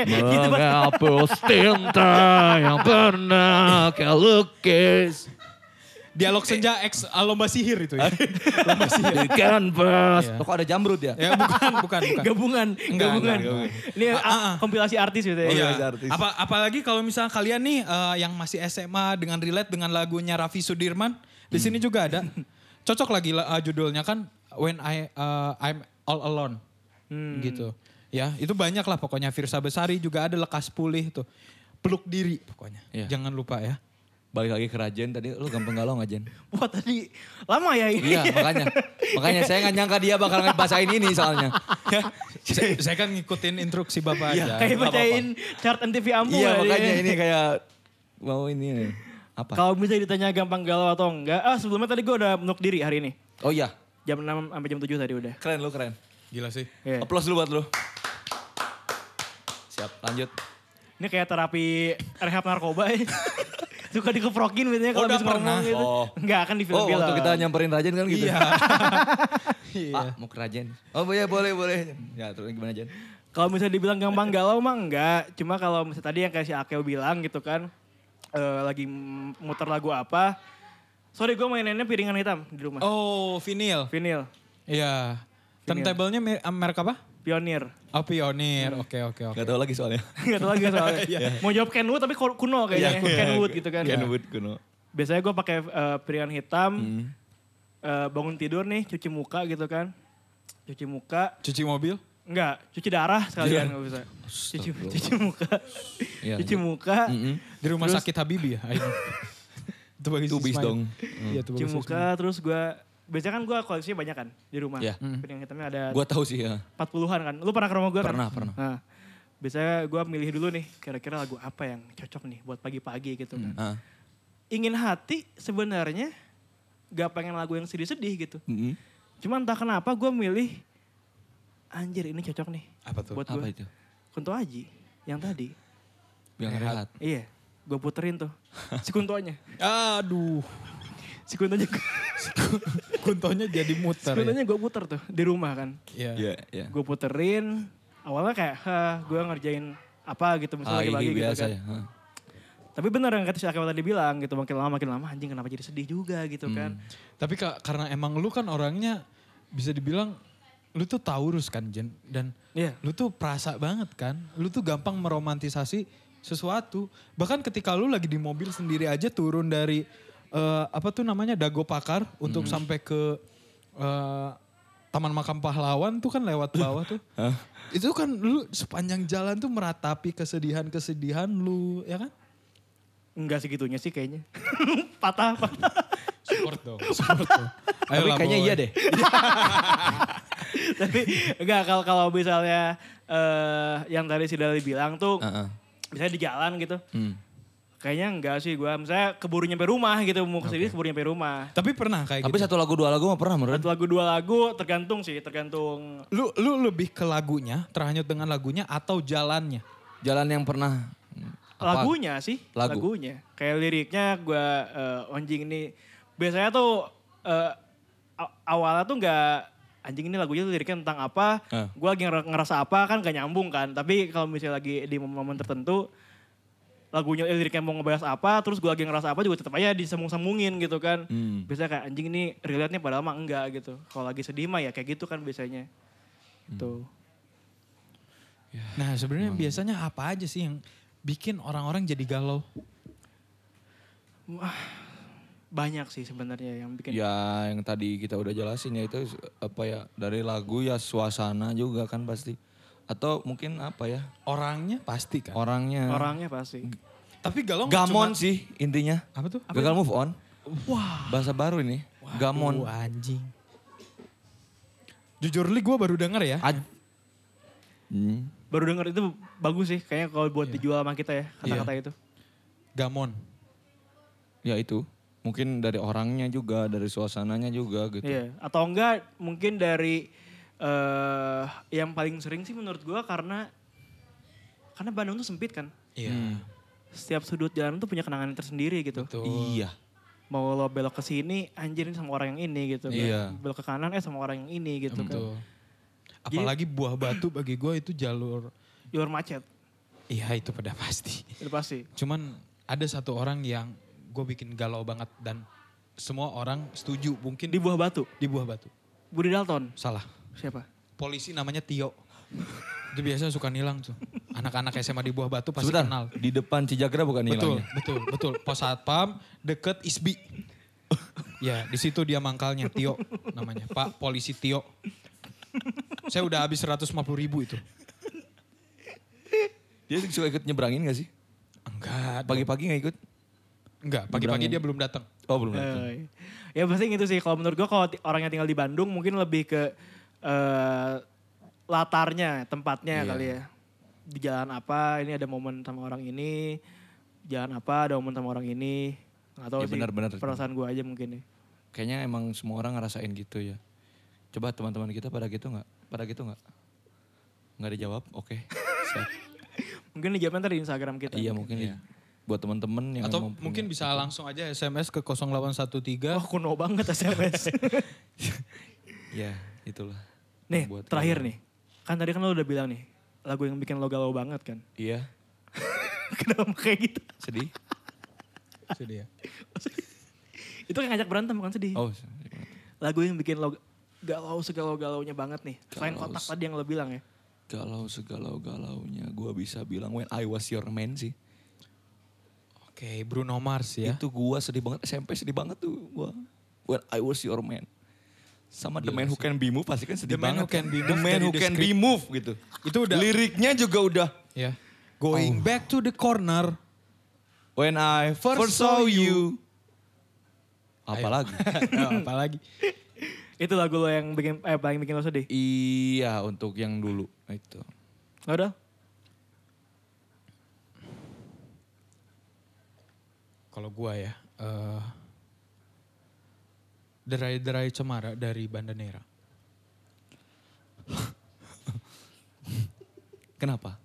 Speaker 4: Gitu,
Speaker 5: Menghapus tinta yang
Speaker 4: [laughs]
Speaker 5: pernah kau lukis
Speaker 2: Dialog senja ex eh, lomba sihir itu
Speaker 4: [laughs]
Speaker 2: ya.
Speaker 5: di kanvas.
Speaker 4: Loh, kok ada jamrut ya?
Speaker 2: ya bukan, bukan, bukan.
Speaker 3: Gabungan, gabungan.
Speaker 4: enggak, Ah,
Speaker 3: Ini a- kompilasi artis gitu ya.
Speaker 4: Iya.
Speaker 2: Iya.
Speaker 4: artis.
Speaker 2: Apa apalagi kalau misalnya kalian nih eh, yang masih SMA dengan relate dengan lagunya Raffi Sudirman, di sini juga ada. Cocok lagi eh, judulnya kan When I eh, I'm All Alone.
Speaker 4: Hmm.
Speaker 2: Gitu. Ya, itu banyak lah pokoknya Firsa Besari juga ada lekas pulih tuh. Peluk diri pokoknya.
Speaker 4: Iya.
Speaker 2: Jangan lupa ya.
Speaker 4: Balik lagi ke Rajen tadi, lu gampang galau nggak
Speaker 3: [laughs]
Speaker 4: Jen?
Speaker 3: Wah tadi lama ya ini.
Speaker 4: Iya, makanya. Makanya saya nggak nyangka dia bakal ngebacain ini soalnya.
Speaker 2: saya, saya kan ngikutin instruksi Bapak aja.
Speaker 3: [laughs] Kayak bacain chart MTV Ampu kali ya.
Speaker 4: iya, makanya ini kayak mau ini apa?
Speaker 3: Kalau misalnya ditanya gampang galau atau enggak, ah sebelumnya tadi gue udah menuk diri hari ini.
Speaker 4: Oh iya,
Speaker 3: Jam 6 sampai jam 7 tadi udah.
Speaker 4: keren lu keren.
Speaker 2: Gila sih.
Speaker 3: Iya.
Speaker 4: Applause dulu buat lu. Siap, lanjut.
Speaker 3: Ini kayak terapi rehab narkoba ya. Suka dikeprokin biasanya kalau
Speaker 2: Oh, udah
Speaker 3: habis ngomong
Speaker 2: pernah?
Speaker 3: gitu.
Speaker 4: Oh.
Speaker 3: Enggak kan di film Iya.
Speaker 4: Oh, waktu kita nyamperin Rajen kan gitu. [laughs]
Speaker 2: Iya.
Speaker 4: Pak, mau ke Rajen. Oh iya, boleh, boleh. Ya, terus gimana Jen?
Speaker 3: Kalau misalnya dibilang gampang galau mah enggak. Cuma kalau misalnya tadi yang kayak si Akeo bilang gitu kan. eh, lagi m- muter lagu apa. Sorry gue mainannya piringan hitam di rumah.
Speaker 2: Oh, vinil.
Speaker 3: Vinyl.
Speaker 2: Iya. Turntable-nya mer- merek apa?
Speaker 3: Pionir. [laughs]
Speaker 2: Oh, Pioneer. Iya. Oke, oke, oke.
Speaker 4: Gak tau lagi soalnya.
Speaker 3: Gak tau lagi soalnya. Mau jawab Kenwood tapi ko- kuno
Speaker 4: Iya,
Speaker 3: kayaknya. Kenwood gitu kan.
Speaker 4: Kenwood kuno.
Speaker 3: Biasanya gue pakai eh, piringan hitam.
Speaker 4: Hmm.
Speaker 3: eh, bangun tidur nih, cuci muka gitu kan. Cuci muka.
Speaker 2: Cuci mobil?
Speaker 3: Enggak, cuci darah sekalian nggak bisa. Cuci, cuci muka.
Speaker 4: Iya,
Speaker 3: cuci
Speaker 4: lanjut.
Speaker 3: muka.
Speaker 2: Di rumah sakit Habibie ya? Ayo. [laughs] Itu bagi
Speaker 4: Tubis
Speaker 2: Ismail.
Speaker 4: dong.
Speaker 2: Iya, itu
Speaker 3: Cuci
Speaker 2: bagus.
Speaker 3: muka terus gue. Biasanya kan gue koleksinya banyak kan di rumah.
Speaker 4: Iya.
Speaker 3: Piringan hitamnya ada
Speaker 4: Gua tahu sih ya.
Speaker 3: 40-an kan. Lu pernah ke rumah gue kan?
Speaker 4: Pernah, pernah.
Speaker 3: Nah, biasanya gue milih dulu nih kira-kira lagu apa yang cocok nih buat pagi-pagi gitu kan.
Speaker 4: Ah.
Speaker 3: ingin hati sebenarnya gak pengen lagu yang sedih-sedih gitu.
Speaker 4: Mm-mm.
Speaker 3: Cuma entah kenapa gue milih anjir ini cocok nih.
Speaker 2: Apa tuh?
Speaker 3: Buat
Speaker 4: Apa
Speaker 3: gue.
Speaker 4: itu?
Speaker 3: Kunto Aji yang tadi.
Speaker 4: Biang rehat.
Speaker 3: Iya, gue puterin
Speaker 4: [laughs]
Speaker 3: tuh. Si Kuntonya.
Speaker 2: Aduh. [laughs]
Speaker 3: Si Kuntonya,
Speaker 2: Kuntonya jadi muter.
Speaker 3: si Kuntonya gue puter tuh di rumah kan.
Speaker 2: Ya. Iya.
Speaker 4: Iya, iya.
Speaker 3: Gue puterin, awalnya kayak gue ngerjain apa gitu
Speaker 4: Ah,
Speaker 3: misalnya
Speaker 4: ini
Speaker 3: pagi-pagi gitu
Speaker 4: biasa
Speaker 3: kan.
Speaker 4: ya. Hah.
Speaker 3: Tapi bener yang kata si Akewal tadi bilang gitu, makin lama makin lama anjing kenapa jadi sedih juga gitu kan.
Speaker 4: Hmm.
Speaker 2: Tapi ka- karena emang lu kan orangnya bisa dibilang lu tuh Taurus kan Jen dan
Speaker 3: Iya.
Speaker 2: lu tuh perasa banget kan. Lu tuh gampang meromantisasi sesuatu. Bahkan ketika lu lagi di mobil sendiri aja turun Hmm. dari eh, apa tuh namanya Dago Pakar untuk sampai ke eh, Taman Makam Pahlawan tuh kan lewat bawah [laughs] tuh. Itu kan lu sepanjang jalan tuh meratapi kesedihan-kesedihan lu, ya kan?
Speaker 3: Enggak segitunya sih kayaknya. [laughs] patah, patah. [laughs]
Speaker 2: Support dong, [laughs] support dong.
Speaker 4: Tapi
Speaker 2: Ayolah,
Speaker 4: kayaknya
Speaker 2: Boy.
Speaker 4: iya deh.
Speaker 3: Tapi enggak kalau kalau misalnya eh yang tadi si Dali bilang tuh
Speaker 4: Heeh.
Speaker 3: misalnya di jalan gitu.
Speaker 4: Hmm.
Speaker 3: Kayaknya enggak sih gua. Misalnya keburu nyampe rumah gitu. Mau kesini keburu nyampe rumah.
Speaker 2: Tapi pernah kayak
Speaker 4: Tapi
Speaker 2: gitu.
Speaker 4: satu lagu dua lagu mah pernah menurut.
Speaker 3: Satu lagu dua lagu tergantung sih. Tergantung
Speaker 2: Lu lu lebih ke lagunya, terhanyut dengan lagunya atau jalannya?
Speaker 4: Jalan yang pernah hmm, apa?
Speaker 3: lagunya sih.
Speaker 4: Lagu.
Speaker 3: Lagunya. Kayak liriknya gua eh, anjing ini. Biasanya tuh eh, aw- awalnya tuh enggak anjing ini lagunya liriknya tentang apa.
Speaker 4: Eh.
Speaker 3: Gua lagi nger- ngerasa apa kan gak nyambung kan. Tapi kalau misalnya lagi di momen tertentu lagunya eh, liriknya mau ngebahas apa terus gua lagi ngerasa apa juga tetap aja disambung-sambungin gitu kan
Speaker 4: Hmm.
Speaker 3: biasanya kayak anjing ini relate nih padahal mah enggak gitu kalau lagi sedih mah ya kayak gitu kan biasanya gitu
Speaker 4: Hmm. Ya,
Speaker 2: Nah sebenarnya biasanya apa aja sih yang bikin orang-orang jadi galau?
Speaker 3: banyak sih sebenarnya yang bikin
Speaker 4: Ya yang tadi kita udah jelasin ya itu apa ya dari lagu ya suasana juga kan pasti. Atau mungkin apa ya
Speaker 2: Orangnya pasti kan.
Speaker 4: orangnya.
Speaker 3: orangnya pasti
Speaker 2: Tapi galau nggak
Speaker 4: Oh. Gamon
Speaker 2: cuma-
Speaker 4: sih intinya.
Speaker 2: Apa tuh?
Speaker 4: Gagal move on. Wah. Bahasa baru ini. Gamon.
Speaker 2: Wah, anjing. Jujur li gue baru denger ya.
Speaker 4: Aj- Hmm.
Speaker 3: baru denger itu bagus sih kayaknya kalau buat dijual sama kita ya kata-kata itu
Speaker 2: Gamon.
Speaker 4: Ya itu. Mungkin dari orangnya juga, dari suasananya juga gitu.
Speaker 3: iya atau enggak mungkin dari eh yang paling sering sih menurut gua karena karena Bandung tuh sempit kan
Speaker 2: Iya.
Speaker 4: Hmm.
Speaker 3: setiap sudut jalan tuh punya kenangan tersendiri gitu
Speaker 2: Betul.
Speaker 4: Iya.
Speaker 3: mau lo belok ke sini anjir ini sama orang yang ini gitu
Speaker 4: Iya.
Speaker 3: belok ke kanan eh sama orang yang ini gitu kan
Speaker 2: Betul. Apalagi buah batu bagi gue itu jalur.
Speaker 3: jalur kan. macet
Speaker 2: Iya itu pada pasti.
Speaker 3: itu pasti
Speaker 2: Cuman ada satu orang yang gue bikin galau banget dan semua orang setuju mungkin
Speaker 3: di buah batu
Speaker 2: di buah batu.
Speaker 3: Budi Dalton
Speaker 2: Salah.
Speaker 3: siapa
Speaker 2: Polisi namanya Tio. Itu biasanya suka nilang tuh. Anak-anak SMA di buah batu pasti
Speaker 4: Sebentar,
Speaker 2: kenal.
Speaker 4: di depan Cijagra bukan
Speaker 2: Betul,
Speaker 4: hilangnya?
Speaker 2: betul, betul. Pos satpam deket ISBI. ya, di situ dia mangkalnya Tio namanya. Pak Polisi Tio. Saya udah habis 150 ribu itu.
Speaker 4: Dia suka ikut nyebrangin gak sih?
Speaker 2: Enggak. dong.
Speaker 4: Pagi-pagi gak ikut?
Speaker 2: Enggak, pagi-pagi dia belum datang.
Speaker 4: Oh belum. datang.
Speaker 3: Eh, ya pasti gitu sih kalau menurut gua kalau ti- orang yang tinggal di Bandung mungkin lebih ke eh, latarnya tempatnya
Speaker 4: Iya.
Speaker 3: kali ya di jalan apa ini ada momen sama orang ini jalan apa ada momen sama orang ini atau
Speaker 4: Ya, benar-benar.
Speaker 3: perasaan gua aja mungkin ya. nih
Speaker 4: Kayaknya emang semua orang ngerasain gitu ya. Coba teman-teman kita pada gitu nggak? Pada gitu nggak? Nggak dijawab?
Speaker 2: [laughs]
Speaker 4: Oke. Siap.
Speaker 3: mungkin dijawabnya ntar di Instagram kita
Speaker 4: iya mungkin di- buat teman-teman yang
Speaker 2: Atau
Speaker 4: emang punya-
Speaker 2: mungkin bisa langsung aja SMS ke 0813.
Speaker 3: Wah kuno banget
Speaker 4: [laughs]
Speaker 3: SMS.
Speaker 4: Ya itulah.
Speaker 3: nih
Speaker 4: Buat
Speaker 3: terakhir nih. Kan tadi kan lo udah bilang nih. Lagu yang bikin lo galau banget kan. [laughs]
Speaker 4: Iya.
Speaker 3: Kenapa kayak gitu?
Speaker 4: Sedih.
Speaker 2: Itu dia.
Speaker 3: Itu kan ngajak berantem kan
Speaker 2: Iya.
Speaker 3: sedih.
Speaker 4: Oh.
Speaker 3: Lagu yang bikin lo galau segalau-galaunya banget nih. Selain
Speaker 4: Galau
Speaker 3: kotak
Speaker 4: se-
Speaker 3: tadi yang lo bilang ya.
Speaker 4: Galau segalau galaunya, gua bisa bilang when I was your man sih.
Speaker 2: Oke, Bruno Mars ya.
Speaker 4: Itu gua sedih banget SMP sedih banget tuh gua. When I was your man. Sama The Man Who Can Be Moved pasti kan sedih
Speaker 2: The Man
Speaker 4: banget.
Speaker 2: Who Can Be
Speaker 4: the
Speaker 2: Moved
Speaker 4: Man
Speaker 2: dari
Speaker 4: Who
Speaker 2: The
Speaker 4: Can Be
Speaker 2: Script.
Speaker 4: Moved gitu.
Speaker 2: Itu udah-
Speaker 4: liriknya juga udah
Speaker 2: Ya. Going back to the corner. [laughs]
Speaker 4: When I first,
Speaker 2: First saw
Speaker 4: saw you.
Speaker 2: [laughs]
Speaker 4: Apalagi?
Speaker 2: Ya, apalagi.
Speaker 3: Itu lagu lo yang bikin, eh, paling bikin lo sedih.
Speaker 4: iya untuk yang dulu itu.
Speaker 3: Lo udah?
Speaker 2: Kalau gua ya. eh, derai-derai cemara dari Bandanera.
Speaker 4: Kenapa?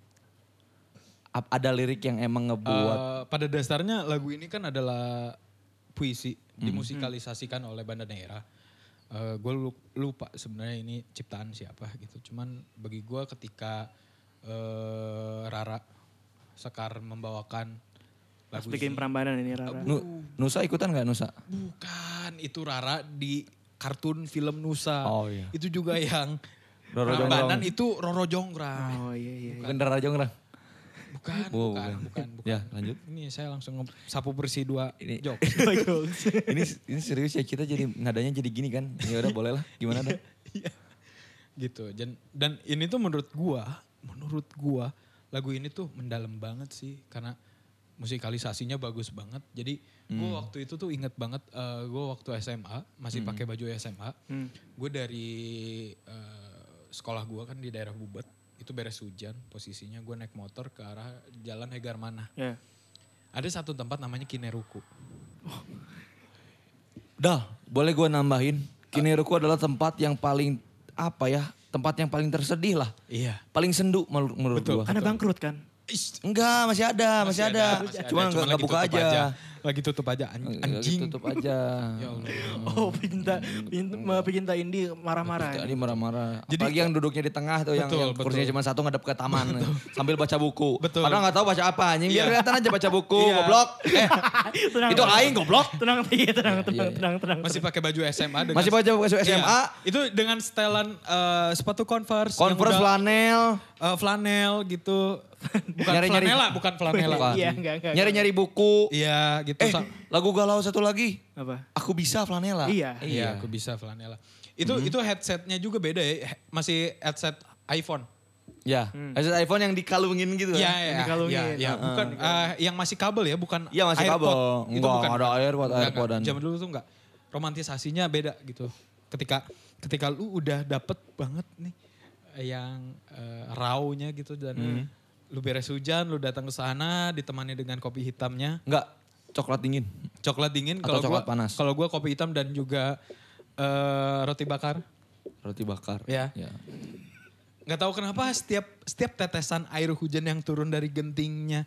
Speaker 4: Ap- ada lirik yang emang ngebuat
Speaker 2: Eh, pada dasarnya lagu ini kan adalah puisi
Speaker 4: Hmm.
Speaker 2: dimusikalisasikan oleh Bandanera. Eh gue lupa sebenarnya ini ciptaan siapa gitu. Cuman bagi gue ketika eh, Rara Sekar membawakan
Speaker 3: Pas
Speaker 2: lagu
Speaker 3: bikin
Speaker 2: ini.
Speaker 3: perambanan ini
Speaker 2: Eh.
Speaker 3: Rara.
Speaker 4: Nu- Nusa ikutan nggak Nusa?
Speaker 2: Bukan itu Rara di kartun film Nusa.
Speaker 4: Oh, iya.
Speaker 2: Itu juga yang
Speaker 4: Roro
Speaker 2: perambanan itu Roro Jonggrang.
Speaker 3: Oh iya iya.
Speaker 4: Bukan Rara Jonggrang.
Speaker 2: Bukan, bukan,
Speaker 4: Oh, bukan.
Speaker 2: bukan, bukan.
Speaker 4: Ya, lanjut.
Speaker 2: Ini saya langsung nge- sapu bersih dua
Speaker 4: Ini- [laughs]
Speaker 2: jok.
Speaker 3: Oh, iya.
Speaker 2: Iya.
Speaker 4: ini ini serius ya kita jadi nadanya jadi gini kan. Ya udah boleh lah. Gimana dah?
Speaker 2: gitu dan dan ini tuh menurut gua menurut gua lagu ini tuh mendalam banget sih karena musikalisasinya bagus banget jadi gua
Speaker 4: Hmm.
Speaker 2: waktu itu tuh inget banget eh, gua waktu SMA masih pakai baju SMA
Speaker 3: Hmm.
Speaker 2: gue dari eh, sekolah gua kan di daerah Bubet itu beres hujan posisinya gua naik motor ke arah jalan Hegarmana
Speaker 3: Ya.
Speaker 2: ada satu tempat namanya Kineruku
Speaker 4: Dal, boleh gue nambahin? Kineruku adalah tempat yang paling apa ya? Tempat yang paling tersedih lah.
Speaker 2: iya
Speaker 4: Paling sendu menur- menurut gue.
Speaker 3: Karena bangkrut kan.
Speaker 4: Enggak, masih ada, masih, ada.
Speaker 2: masih ada.
Speaker 4: Cuma enggak
Speaker 2: lagi
Speaker 4: buka
Speaker 2: tutup
Speaker 4: aja. Iya, gitu.
Speaker 2: Lagi tutup aja an-
Speaker 4: Lagi
Speaker 2: anjing.
Speaker 4: Tutup aja.
Speaker 2: Ya Allah.
Speaker 3: Oh, pecinta pecinta,
Speaker 4: Hmm.
Speaker 3: pecinta indie marah-marah. [laughs]
Speaker 4: Ini marah-marah.
Speaker 2: Jadi-
Speaker 4: Apalagi yang duduknya di tengah tuh yang,
Speaker 2: Betul,
Speaker 4: yang kursinya
Speaker 2: betul.
Speaker 4: cuma satu ngadep ke taman sambil baca buku.
Speaker 2: Betul.
Speaker 4: Padahal nggak tahu baca apa anjing. Biar
Speaker 2: Iya.
Speaker 4: kelihatan aja baca buku,
Speaker 2: Iya.
Speaker 4: goblok. Eh,
Speaker 3: Tenang,
Speaker 4: itu
Speaker 3: tenang.
Speaker 4: aing goblok.
Speaker 3: Tenang, iya, tenang, tenang,
Speaker 4: iya.
Speaker 3: tenang, tenang.
Speaker 2: Masih pakai baju SMA dengan
Speaker 4: Masih baca buku SMA,
Speaker 2: Iya. Itu dengan setelan eh, sepatu Converse yang
Speaker 4: Converse
Speaker 2: udah,
Speaker 4: flanel.
Speaker 2: eh, flanel gitu.
Speaker 4: [laughs]
Speaker 2: Bukan
Speaker 4: Nyari-nyari-
Speaker 2: flanela, bukan flanela.
Speaker 4: Bukan.
Speaker 3: Iya, enggak, enggak.
Speaker 4: Nyari-nyari buku.
Speaker 2: Iya, gitu.
Speaker 4: Eh,
Speaker 2: Sa-
Speaker 4: lagu galau satu lagi.
Speaker 3: Apa?
Speaker 4: Aku bisa flanela.
Speaker 3: Iya.
Speaker 2: Iya, aku bisa flanela. Itu
Speaker 4: Mm-hmm.
Speaker 2: itu headsetnya juga beda ya. He- Masih headset iPhone.
Speaker 4: Ya.
Speaker 3: Hmm.
Speaker 4: Headset iPhone yang dikalungin gitu.
Speaker 2: Iya,
Speaker 4: kan?
Speaker 2: iya,
Speaker 3: dikalungin.
Speaker 2: iya, iya. bukan eh, yang masih kabel ya, bukan
Speaker 4: Iya, masih kabel.
Speaker 2: Itu
Speaker 4: Enggak,
Speaker 2: bukan.
Speaker 4: ada AirPod,
Speaker 2: Enggak,
Speaker 4: AirPod
Speaker 2: enggak.
Speaker 4: dan-
Speaker 2: Zaman dulu tuh enggak. Romantisasinya beda gitu. Ketika ketika lu udah dapet banget nih eh, yang eh, raw-nya gitu dan
Speaker 4: Hmm.
Speaker 2: lu beres hujan, lu datang ke sana ditemani dengan kopi hitamnya,
Speaker 4: Enggak, coklat dingin.
Speaker 2: coklat dingin kalau
Speaker 4: Atau
Speaker 2: gua
Speaker 4: coklat panas.
Speaker 2: kalau gua kopi hitam dan juga eh, roti bakar.
Speaker 4: Roti bakar.
Speaker 2: Iya. nggak tahu kenapa setiap setiap tetesan air hujan yang turun dari gentingnya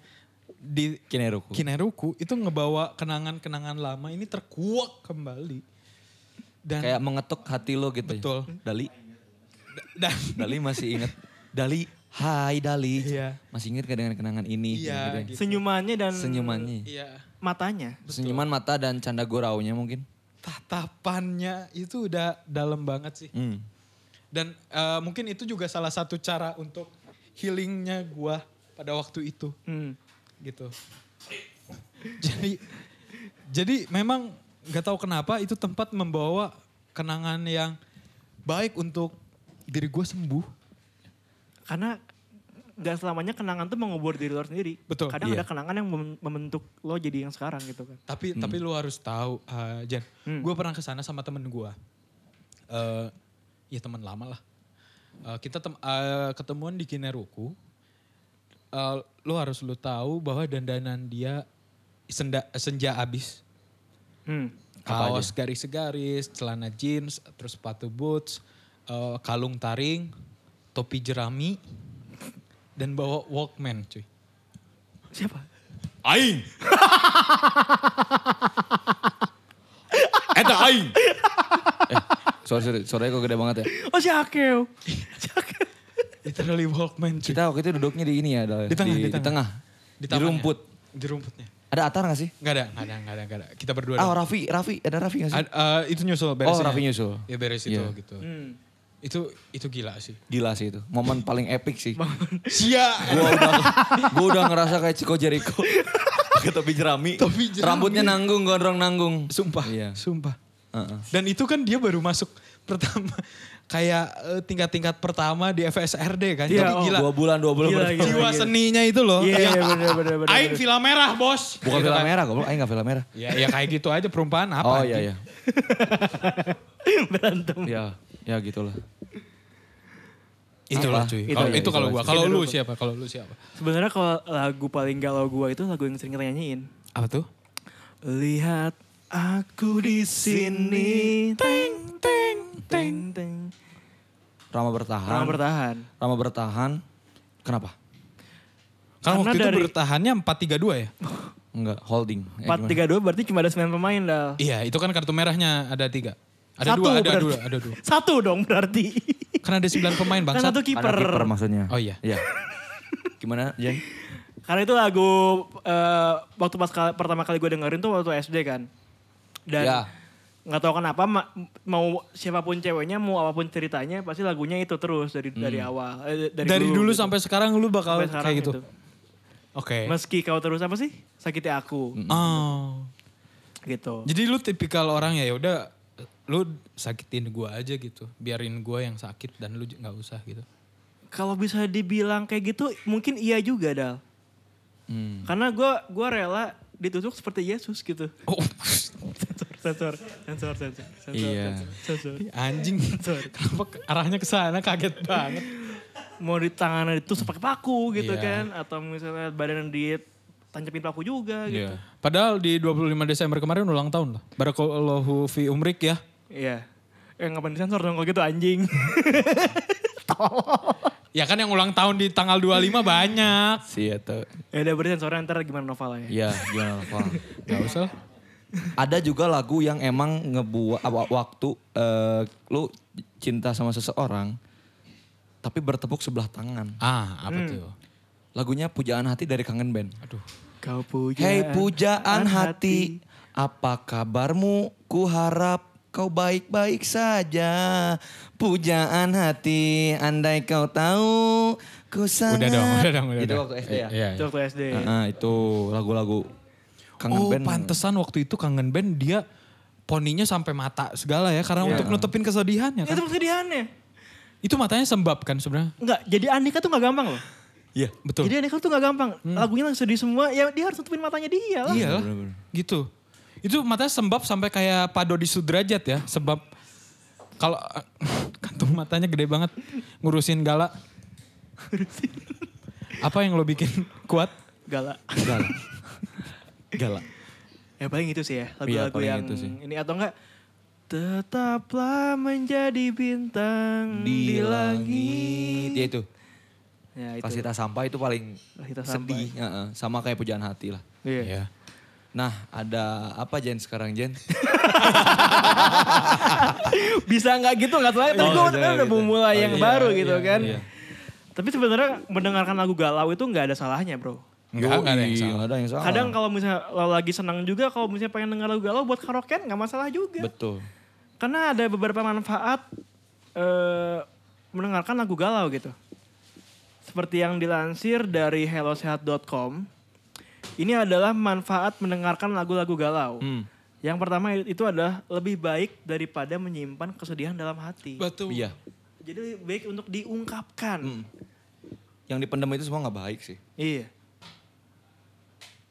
Speaker 2: di
Speaker 4: Kineruku.
Speaker 2: Kineruku itu ngebawa kenangan-kenangan lama ini terkuak kembali. Dan
Speaker 4: Kayak mengetuk hati lo gitu. ya.
Speaker 2: Betul.
Speaker 4: Dali.
Speaker 2: [laughs] dan
Speaker 4: Dali masih inget. Dali, hai Dali.
Speaker 2: Iya.
Speaker 4: Masih inget gak dengan kenangan ini?
Speaker 2: Iya,
Speaker 4: Gitu ya.
Speaker 2: gitu.
Speaker 3: Senyumannya dan
Speaker 4: Senyumannya.
Speaker 2: iya
Speaker 3: matanya.
Speaker 4: Senyuman mata dan canda guraunya mungkin.
Speaker 2: tatapannya itu udah dalam banget sih.
Speaker 4: Hmm.
Speaker 2: Dan eh, mungkin itu juga salah satu cara untuk healingnya gua pada waktu itu.
Speaker 3: Hmm.
Speaker 2: gitu. jadi jadi memang nggak tahu kenapa itu tempat membawa kenangan yang baik untuk diri gue sembuh.
Speaker 3: Karena gak selamanya kenangan tuh mengubur diri lo sendiri.
Speaker 2: Betul,
Speaker 3: Kadang
Speaker 4: iya.
Speaker 3: ada kenangan yang mem- membentuk lo jadi yang sekarang gitu kan.
Speaker 2: Tapi tapi lu harus tahu eh, Jen, gue pernah ke sana sama temen gue. Eh ya teman lama lah. Eh, kita tem- eh, ketemuan di Kineruku. Eh, lu harus lu tahu bahwa dandanan dia senda, senja abis.
Speaker 3: Hmm.
Speaker 2: kaos garis-garis, celana jeans, terus sepatu boots, eh, kalung taring, topi jerami, dan bawa Walkman cuy.
Speaker 3: Siapa?
Speaker 5: Aing. Eta aing.
Speaker 4: [laughs] Sorry, sorry. Suaranya kok gede banget ya.
Speaker 3: Oh si Akeo. Si Akeo.
Speaker 2: Literally Walkman cuy.
Speaker 4: Kita waktu itu duduknya di ini ya, Dal.
Speaker 2: Di tengah,
Speaker 4: di,
Speaker 2: di ya? tengah.
Speaker 4: Di, ya?
Speaker 2: tamannya.
Speaker 4: rumput.
Speaker 2: Di rumputnya.
Speaker 4: Ada Atar gak sih?
Speaker 2: Gak ada, gak ada, gak ada, gak ada. Kita berdua.
Speaker 4: Ah,
Speaker 2: doang.
Speaker 4: Raffi, Raffi. Ada Raffi gak sih?
Speaker 2: Ad- eh, itu nyusul beresnya.
Speaker 4: Raffi nyusul.
Speaker 2: Ya beres itu
Speaker 4: Iya.
Speaker 2: gitu. Itu itu gila sih.
Speaker 4: Gila sih itu. Momen paling epic sih.
Speaker 2: Sia.
Speaker 4: Gua udah, gua udah ngerasa kayak Chico Jericho. Pakai topi jerami.
Speaker 2: Topi jerami.
Speaker 4: Rambutnya nanggung, gondrong nanggung.
Speaker 2: Sumpah,
Speaker 4: Iya.
Speaker 2: sumpah.
Speaker 4: Heeh.
Speaker 2: Dan itu kan dia baru masuk pertama [laughs] kayak eh, tingkat-tingkat pertama di FSRD kan.
Speaker 3: Iya,
Speaker 2: Jadi
Speaker 3: oh.
Speaker 2: gila.
Speaker 4: Dua bulan, dua bulan.
Speaker 3: Gila,
Speaker 4: berarti.
Speaker 3: gila.
Speaker 2: jiwa seninya itu loh.
Speaker 3: Iya,
Speaker 2: Yang
Speaker 3: iya, bener, bener, bener,
Speaker 2: Oh, Aing
Speaker 3: bener.
Speaker 2: vila merah bos.
Speaker 4: Bukan
Speaker 2: Gitu
Speaker 4: film
Speaker 2: kan.
Speaker 4: merah, goblok. Aing gak film merah.
Speaker 2: Ya, ya kayak gitu aja perumpamaan apa.
Speaker 4: Oh
Speaker 2: anjing.
Speaker 4: iya, iya.
Speaker 3: Berantem.
Speaker 4: Ya, ya gitulah.
Speaker 2: Itulah
Speaker 4: Apa?
Speaker 2: cuy.
Speaker 4: Itu iya,
Speaker 2: Kalau
Speaker 4: aja,
Speaker 2: itu
Speaker 4: itu
Speaker 2: kalau
Speaker 4: aja.
Speaker 2: gua, kalau lu siapa? Kalau lu siapa?
Speaker 3: Sebenarnya kalau lagu paling galau gua itu lagu yang sering kita nyanyiin.
Speaker 2: Apa tuh?
Speaker 3: Lihat aku di sini. Teng teng teng teng.
Speaker 4: Rama bertahan.
Speaker 3: Orang bertahan.
Speaker 2: Eh,
Speaker 4: Rama bertahan. Kenapa?
Speaker 2: Kan
Speaker 3: Karena
Speaker 2: waktu itu
Speaker 3: dari-
Speaker 2: bertahannya 4-3-2 ya?
Speaker 4: Enggak, holding. Eh,
Speaker 3: Empat
Speaker 4: gimana?
Speaker 3: tiga dua berarti cuma ada sembilan pemain dah.
Speaker 2: Iya, itu kan kartu merahnya ada tiga. Ada
Speaker 3: Satu
Speaker 2: dua, ada
Speaker 3: berarti.
Speaker 2: dua, ada dua.
Speaker 3: Satu dong berarti.
Speaker 2: Karena ada sembilan pemain
Speaker 3: Kan
Speaker 2: bangsat.
Speaker 3: satu
Speaker 4: Ada kiper
Speaker 3: kiper.
Speaker 4: maksudnya.
Speaker 2: Oh, iya.
Speaker 4: Iya. Gimana, [laughs] Jen?
Speaker 3: Karena itu lagu eh, waktu pas kali- pertama kali gue dengerin tuh waktu SD kan. Dan
Speaker 4: Ya.
Speaker 3: nggak tahu kenapa ma- mau siapapun ceweknya mau apapun ceritanya pasti lagunya itu terus dari dari awal eh,
Speaker 2: Dari, dulu,
Speaker 3: gitu.
Speaker 2: sampai sekarang lu bakal
Speaker 3: Sampai sekarang
Speaker 2: kayak gitu.
Speaker 3: itu.
Speaker 2: Oke.
Speaker 3: Meski kau terus apa sih sakiti aku
Speaker 2: Oh.
Speaker 3: gitu.
Speaker 2: Jadi lu tipikal orang ya ya udah lu sakitin gue aja gitu. Biarin gue yang sakit dan lu j- nggak usah gitu.
Speaker 3: Kalau bisa dibilang kayak gitu mungkin iya juga Dal.
Speaker 2: Hmm.
Speaker 3: Karena gua gua rela ditusuk seperti Yesus gitu. [laughs]
Speaker 2: Oh, [laughs]
Speaker 3: Sensor, sensor, sensor, sensor, sensor,
Speaker 2: Iya.
Speaker 3: sensor.
Speaker 2: anjing.
Speaker 3: Sorry.
Speaker 2: Kenapa ke- arahnya ke sana kaget banget.
Speaker 3: Mau di tangannya ditusuk pakai paku gitu
Speaker 2: Iya.
Speaker 3: kan. Atau misalnya badan di tancepin paku juga
Speaker 2: Iya.
Speaker 3: gitu.
Speaker 2: Padahal di 25 Desember kemarin ulang tahun loh. Barakallahu fi umrik ya.
Speaker 3: Iya. Eh ngapain disensor dong kalau gitu anjing. [laughs]
Speaker 2: Ya kan yang ulang tahun di tanggal 25 banyak.
Speaker 4: Iya tuh.
Speaker 3: ya udah berarti sensornya ntar gimana novelnya ya.
Speaker 4: Iya, gimana Val?
Speaker 2: Gak usah lah.
Speaker 4: Ada juga lagu yang emang ngebuat wa- waktu eh, lu cinta sama seseorang tapi bertepuk sebelah tangan.
Speaker 2: Ah,
Speaker 4: Hmm.
Speaker 2: apa tuh?
Speaker 4: Lagunya Pujaan Hati dari Kangen Band.
Speaker 2: Aduh.
Speaker 3: Kau puja.
Speaker 4: Hei pujaan hati, apa kabarmu? Ku harap kau baik-baik saja. Pujaan hati, andai kau tahu, ku
Speaker 2: Udah
Speaker 4: sangat.
Speaker 2: dong, udah dong, udah
Speaker 4: itu
Speaker 2: dong.
Speaker 4: waktu SD ya?
Speaker 2: Iya,
Speaker 3: Itu
Speaker 2: iya.
Speaker 3: waktu SD.
Speaker 4: Ah, itu lagu-lagu kangen
Speaker 2: Oh
Speaker 4: band.
Speaker 2: pantesan waktu itu kangen band dia poninya sampai mata segala ya.
Speaker 4: Iya.
Speaker 2: Karena untuk nutupin kesedihannya
Speaker 3: Itu
Speaker 2: kan.
Speaker 3: kesedihannya.
Speaker 2: Itu matanya sembab kan sebenarnya.
Speaker 3: Enggak, jadi Andika tuh gak gampang loh.
Speaker 4: Iya.
Speaker 2: Betul.
Speaker 3: Jadi Andika tuh gak gampang. Lagunya langsung sedih semua, ya dia harus nutupin matanya dia lah.
Speaker 2: Iya lah.
Speaker 4: Bener-bener.
Speaker 2: Gitu. Itu matanya sembab sampai kayak Pado di Sudrajat ya. Sebab kalau [laughs] kantung matanya gede banget ngurusin gala. Apa yang lo bikin [laughs] kuat?
Speaker 3: Galak.
Speaker 4: Galak. Galak.
Speaker 3: Ya paling itu sih ya,
Speaker 4: Iya,
Speaker 3: lagu-lagu
Speaker 4: paling
Speaker 3: yang
Speaker 4: itu sih.
Speaker 3: ini atau enggak Tetaplah menjadi bintang di,
Speaker 4: Di langit.
Speaker 3: langit.
Speaker 4: Ya itu.
Speaker 3: Ya itu.
Speaker 4: Pas kita sampah itu paling
Speaker 3: Pas kita
Speaker 4: sedih. Heeh, Sama kayak pujaan hati lah.
Speaker 3: Iya.
Speaker 4: Nah ada apa Jen sekarang
Speaker 2: [laughs]
Speaker 4: Jen?
Speaker 3: [laughs] Bisa nggak gitu nggak soalnya tadi
Speaker 4: Oh,
Speaker 3: gue
Speaker 4: bisa nggak
Speaker 3: udah
Speaker 4: gitu.
Speaker 3: mau mulai yang
Speaker 2: iya,
Speaker 3: baru
Speaker 2: iya,
Speaker 3: gitu kan.
Speaker 2: iya.
Speaker 3: Tapi sebenarnya mendengarkan lagu galau itu nggak ada salahnya bro.
Speaker 2: Enggak, enggak ada yang
Speaker 4: Yoi,
Speaker 2: salah.
Speaker 4: nggak ada yang salah.
Speaker 3: Kadang kalau misalnya lo lagi senang juga, kalau misalnya pengen denger lagu galau buat karaokean nggak masalah juga.
Speaker 4: Betul.
Speaker 3: Karena ada beberapa manfaat eh, mendengarkan lagu galau gitu. Seperti yang dilansir dari hellosehat.com, ini adalah manfaat mendengarkan lagu-lagu galau. Yang pertama itu adalah lebih baik daripada menyimpan kesedihan dalam hati.
Speaker 2: Betul.
Speaker 4: Iya.
Speaker 3: Jadi lebih baik untuk diungkapkan.
Speaker 4: Yang dipendam itu semua nggak baik sih.
Speaker 3: Iya.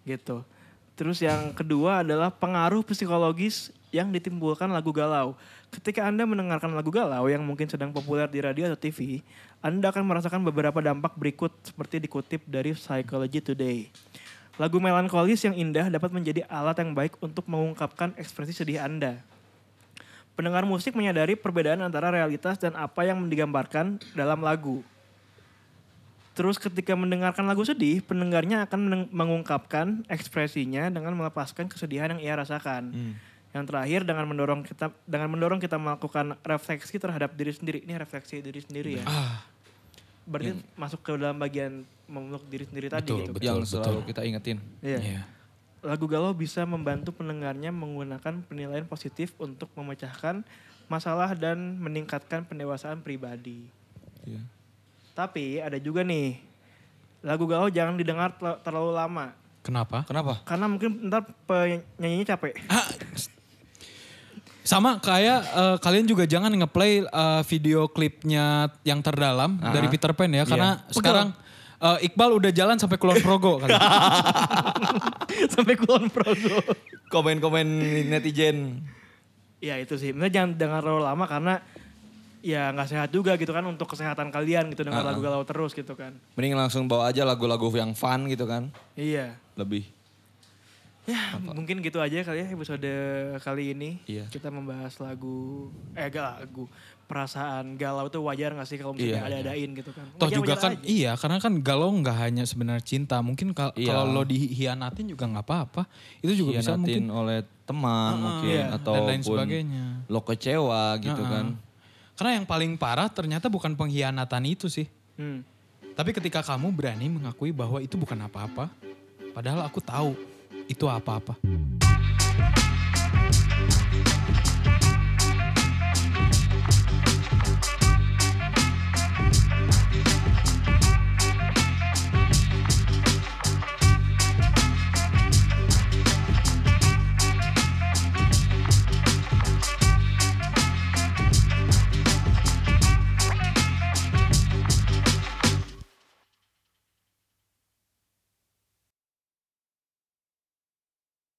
Speaker 3: Gitu. Terus yang kedua adalah pengaruh psikologis yang ditimbulkan lagu galau. Ketika Anda mendengarkan lagu galau yang mungkin sedang populer di radio atau TV, Anda akan merasakan beberapa dampak berikut seperti dikutip dari Psychology Today. Lagu melankolis yang indah dapat menjadi alat yang baik untuk mengungkapkan ekspresi sedih Anda. Pendengar musik menyadari perbedaan antara realitas dan apa yang digambarkan dalam lagu. Terus ketika mendengarkan lagu sedih, pendengarnya akan meneng- mengungkapkan ekspresinya dengan melepaskan kesedihan yang ia rasakan. Yang terakhir dengan mendorong kita dengan mendorong kita melakukan refleksi terhadap diri sendiri. Ini refleksi diri sendiri ya. Berarti masuk ke dalam bagian memeluk diri sendiri tadi
Speaker 2: Betul,
Speaker 3: gitu.
Speaker 2: betul.
Speaker 4: yang selalu kita ingetin.
Speaker 3: Iya.
Speaker 2: Iya.
Speaker 3: Lagu galau bisa membantu pendengarnya menggunakan penilaian positif untuk memecahkan masalah dan meningkatkan pendewasaan pribadi.
Speaker 4: Iya.
Speaker 3: Tapi ada juga nih lagu galau jangan didengar tel- terlalu lama
Speaker 2: Kenapa? Ah,
Speaker 4: Kenapa? [laughs]
Speaker 3: karena mungkin ntar penyanyinya capek. [laughs]
Speaker 2: Sama kayak eh, kalian juga jangan ngeplay eh, video klipnya yang terdalam dari Peter Pan ya karena sekarang eh, Iqbal udah jalan sampai Kulon Progo kali.
Speaker 3: Sampai kulon progo.
Speaker 4: Komen-komen netizen.
Speaker 3: Ya itu sih. Sebenarnya jangan dengar terlalu lama karena ya nggak sehat juga gitu kan untuk kesehatan kalian gitu dengar lagu galau terus gitu kan.
Speaker 4: Mending langsung bawa aja lagu-lagu yang fun gitu kan.
Speaker 3: Iya.
Speaker 4: Lebih.
Speaker 3: Ya mungkin gitu aja kali ya episode kali ini.
Speaker 4: Iya.
Speaker 3: Kita membahas lagu, eh gak lagu. Perasaan galau tuh wajar gak sih kalau misalnya
Speaker 4: Iya.
Speaker 3: ada-adain gitu kan.
Speaker 2: Toh juga
Speaker 3: Wajar-wajar
Speaker 2: kan
Speaker 3: aja.
Speaker 2: iya karena kan galau nggak hanya sebenarnya cinta mungkin kal-
Speaker 4: Iya.
Speaker 2: kalau lo dihianatin juga nggak apa-apa itu juga bisa mungkin
Speaker 4: Hianatin oleh teman mungkin.
Speaker 2: iya, dan
Speaker 4: Ataupun
Speaker 2: lain sebagainya. Ah,
Speaker 4: lo kecewa gitu
Speaker 2: Heeh.
Speaker 4: kan.
Speaker 2: karena yang paling parah ternyata bukan pengkhianatan itu sih
Speaker 3: Hmm.
Speaker 2: tapi ketika kamu berani mengakui bahwa itu bukan apa-apa padahal aku tahu itu apa-apa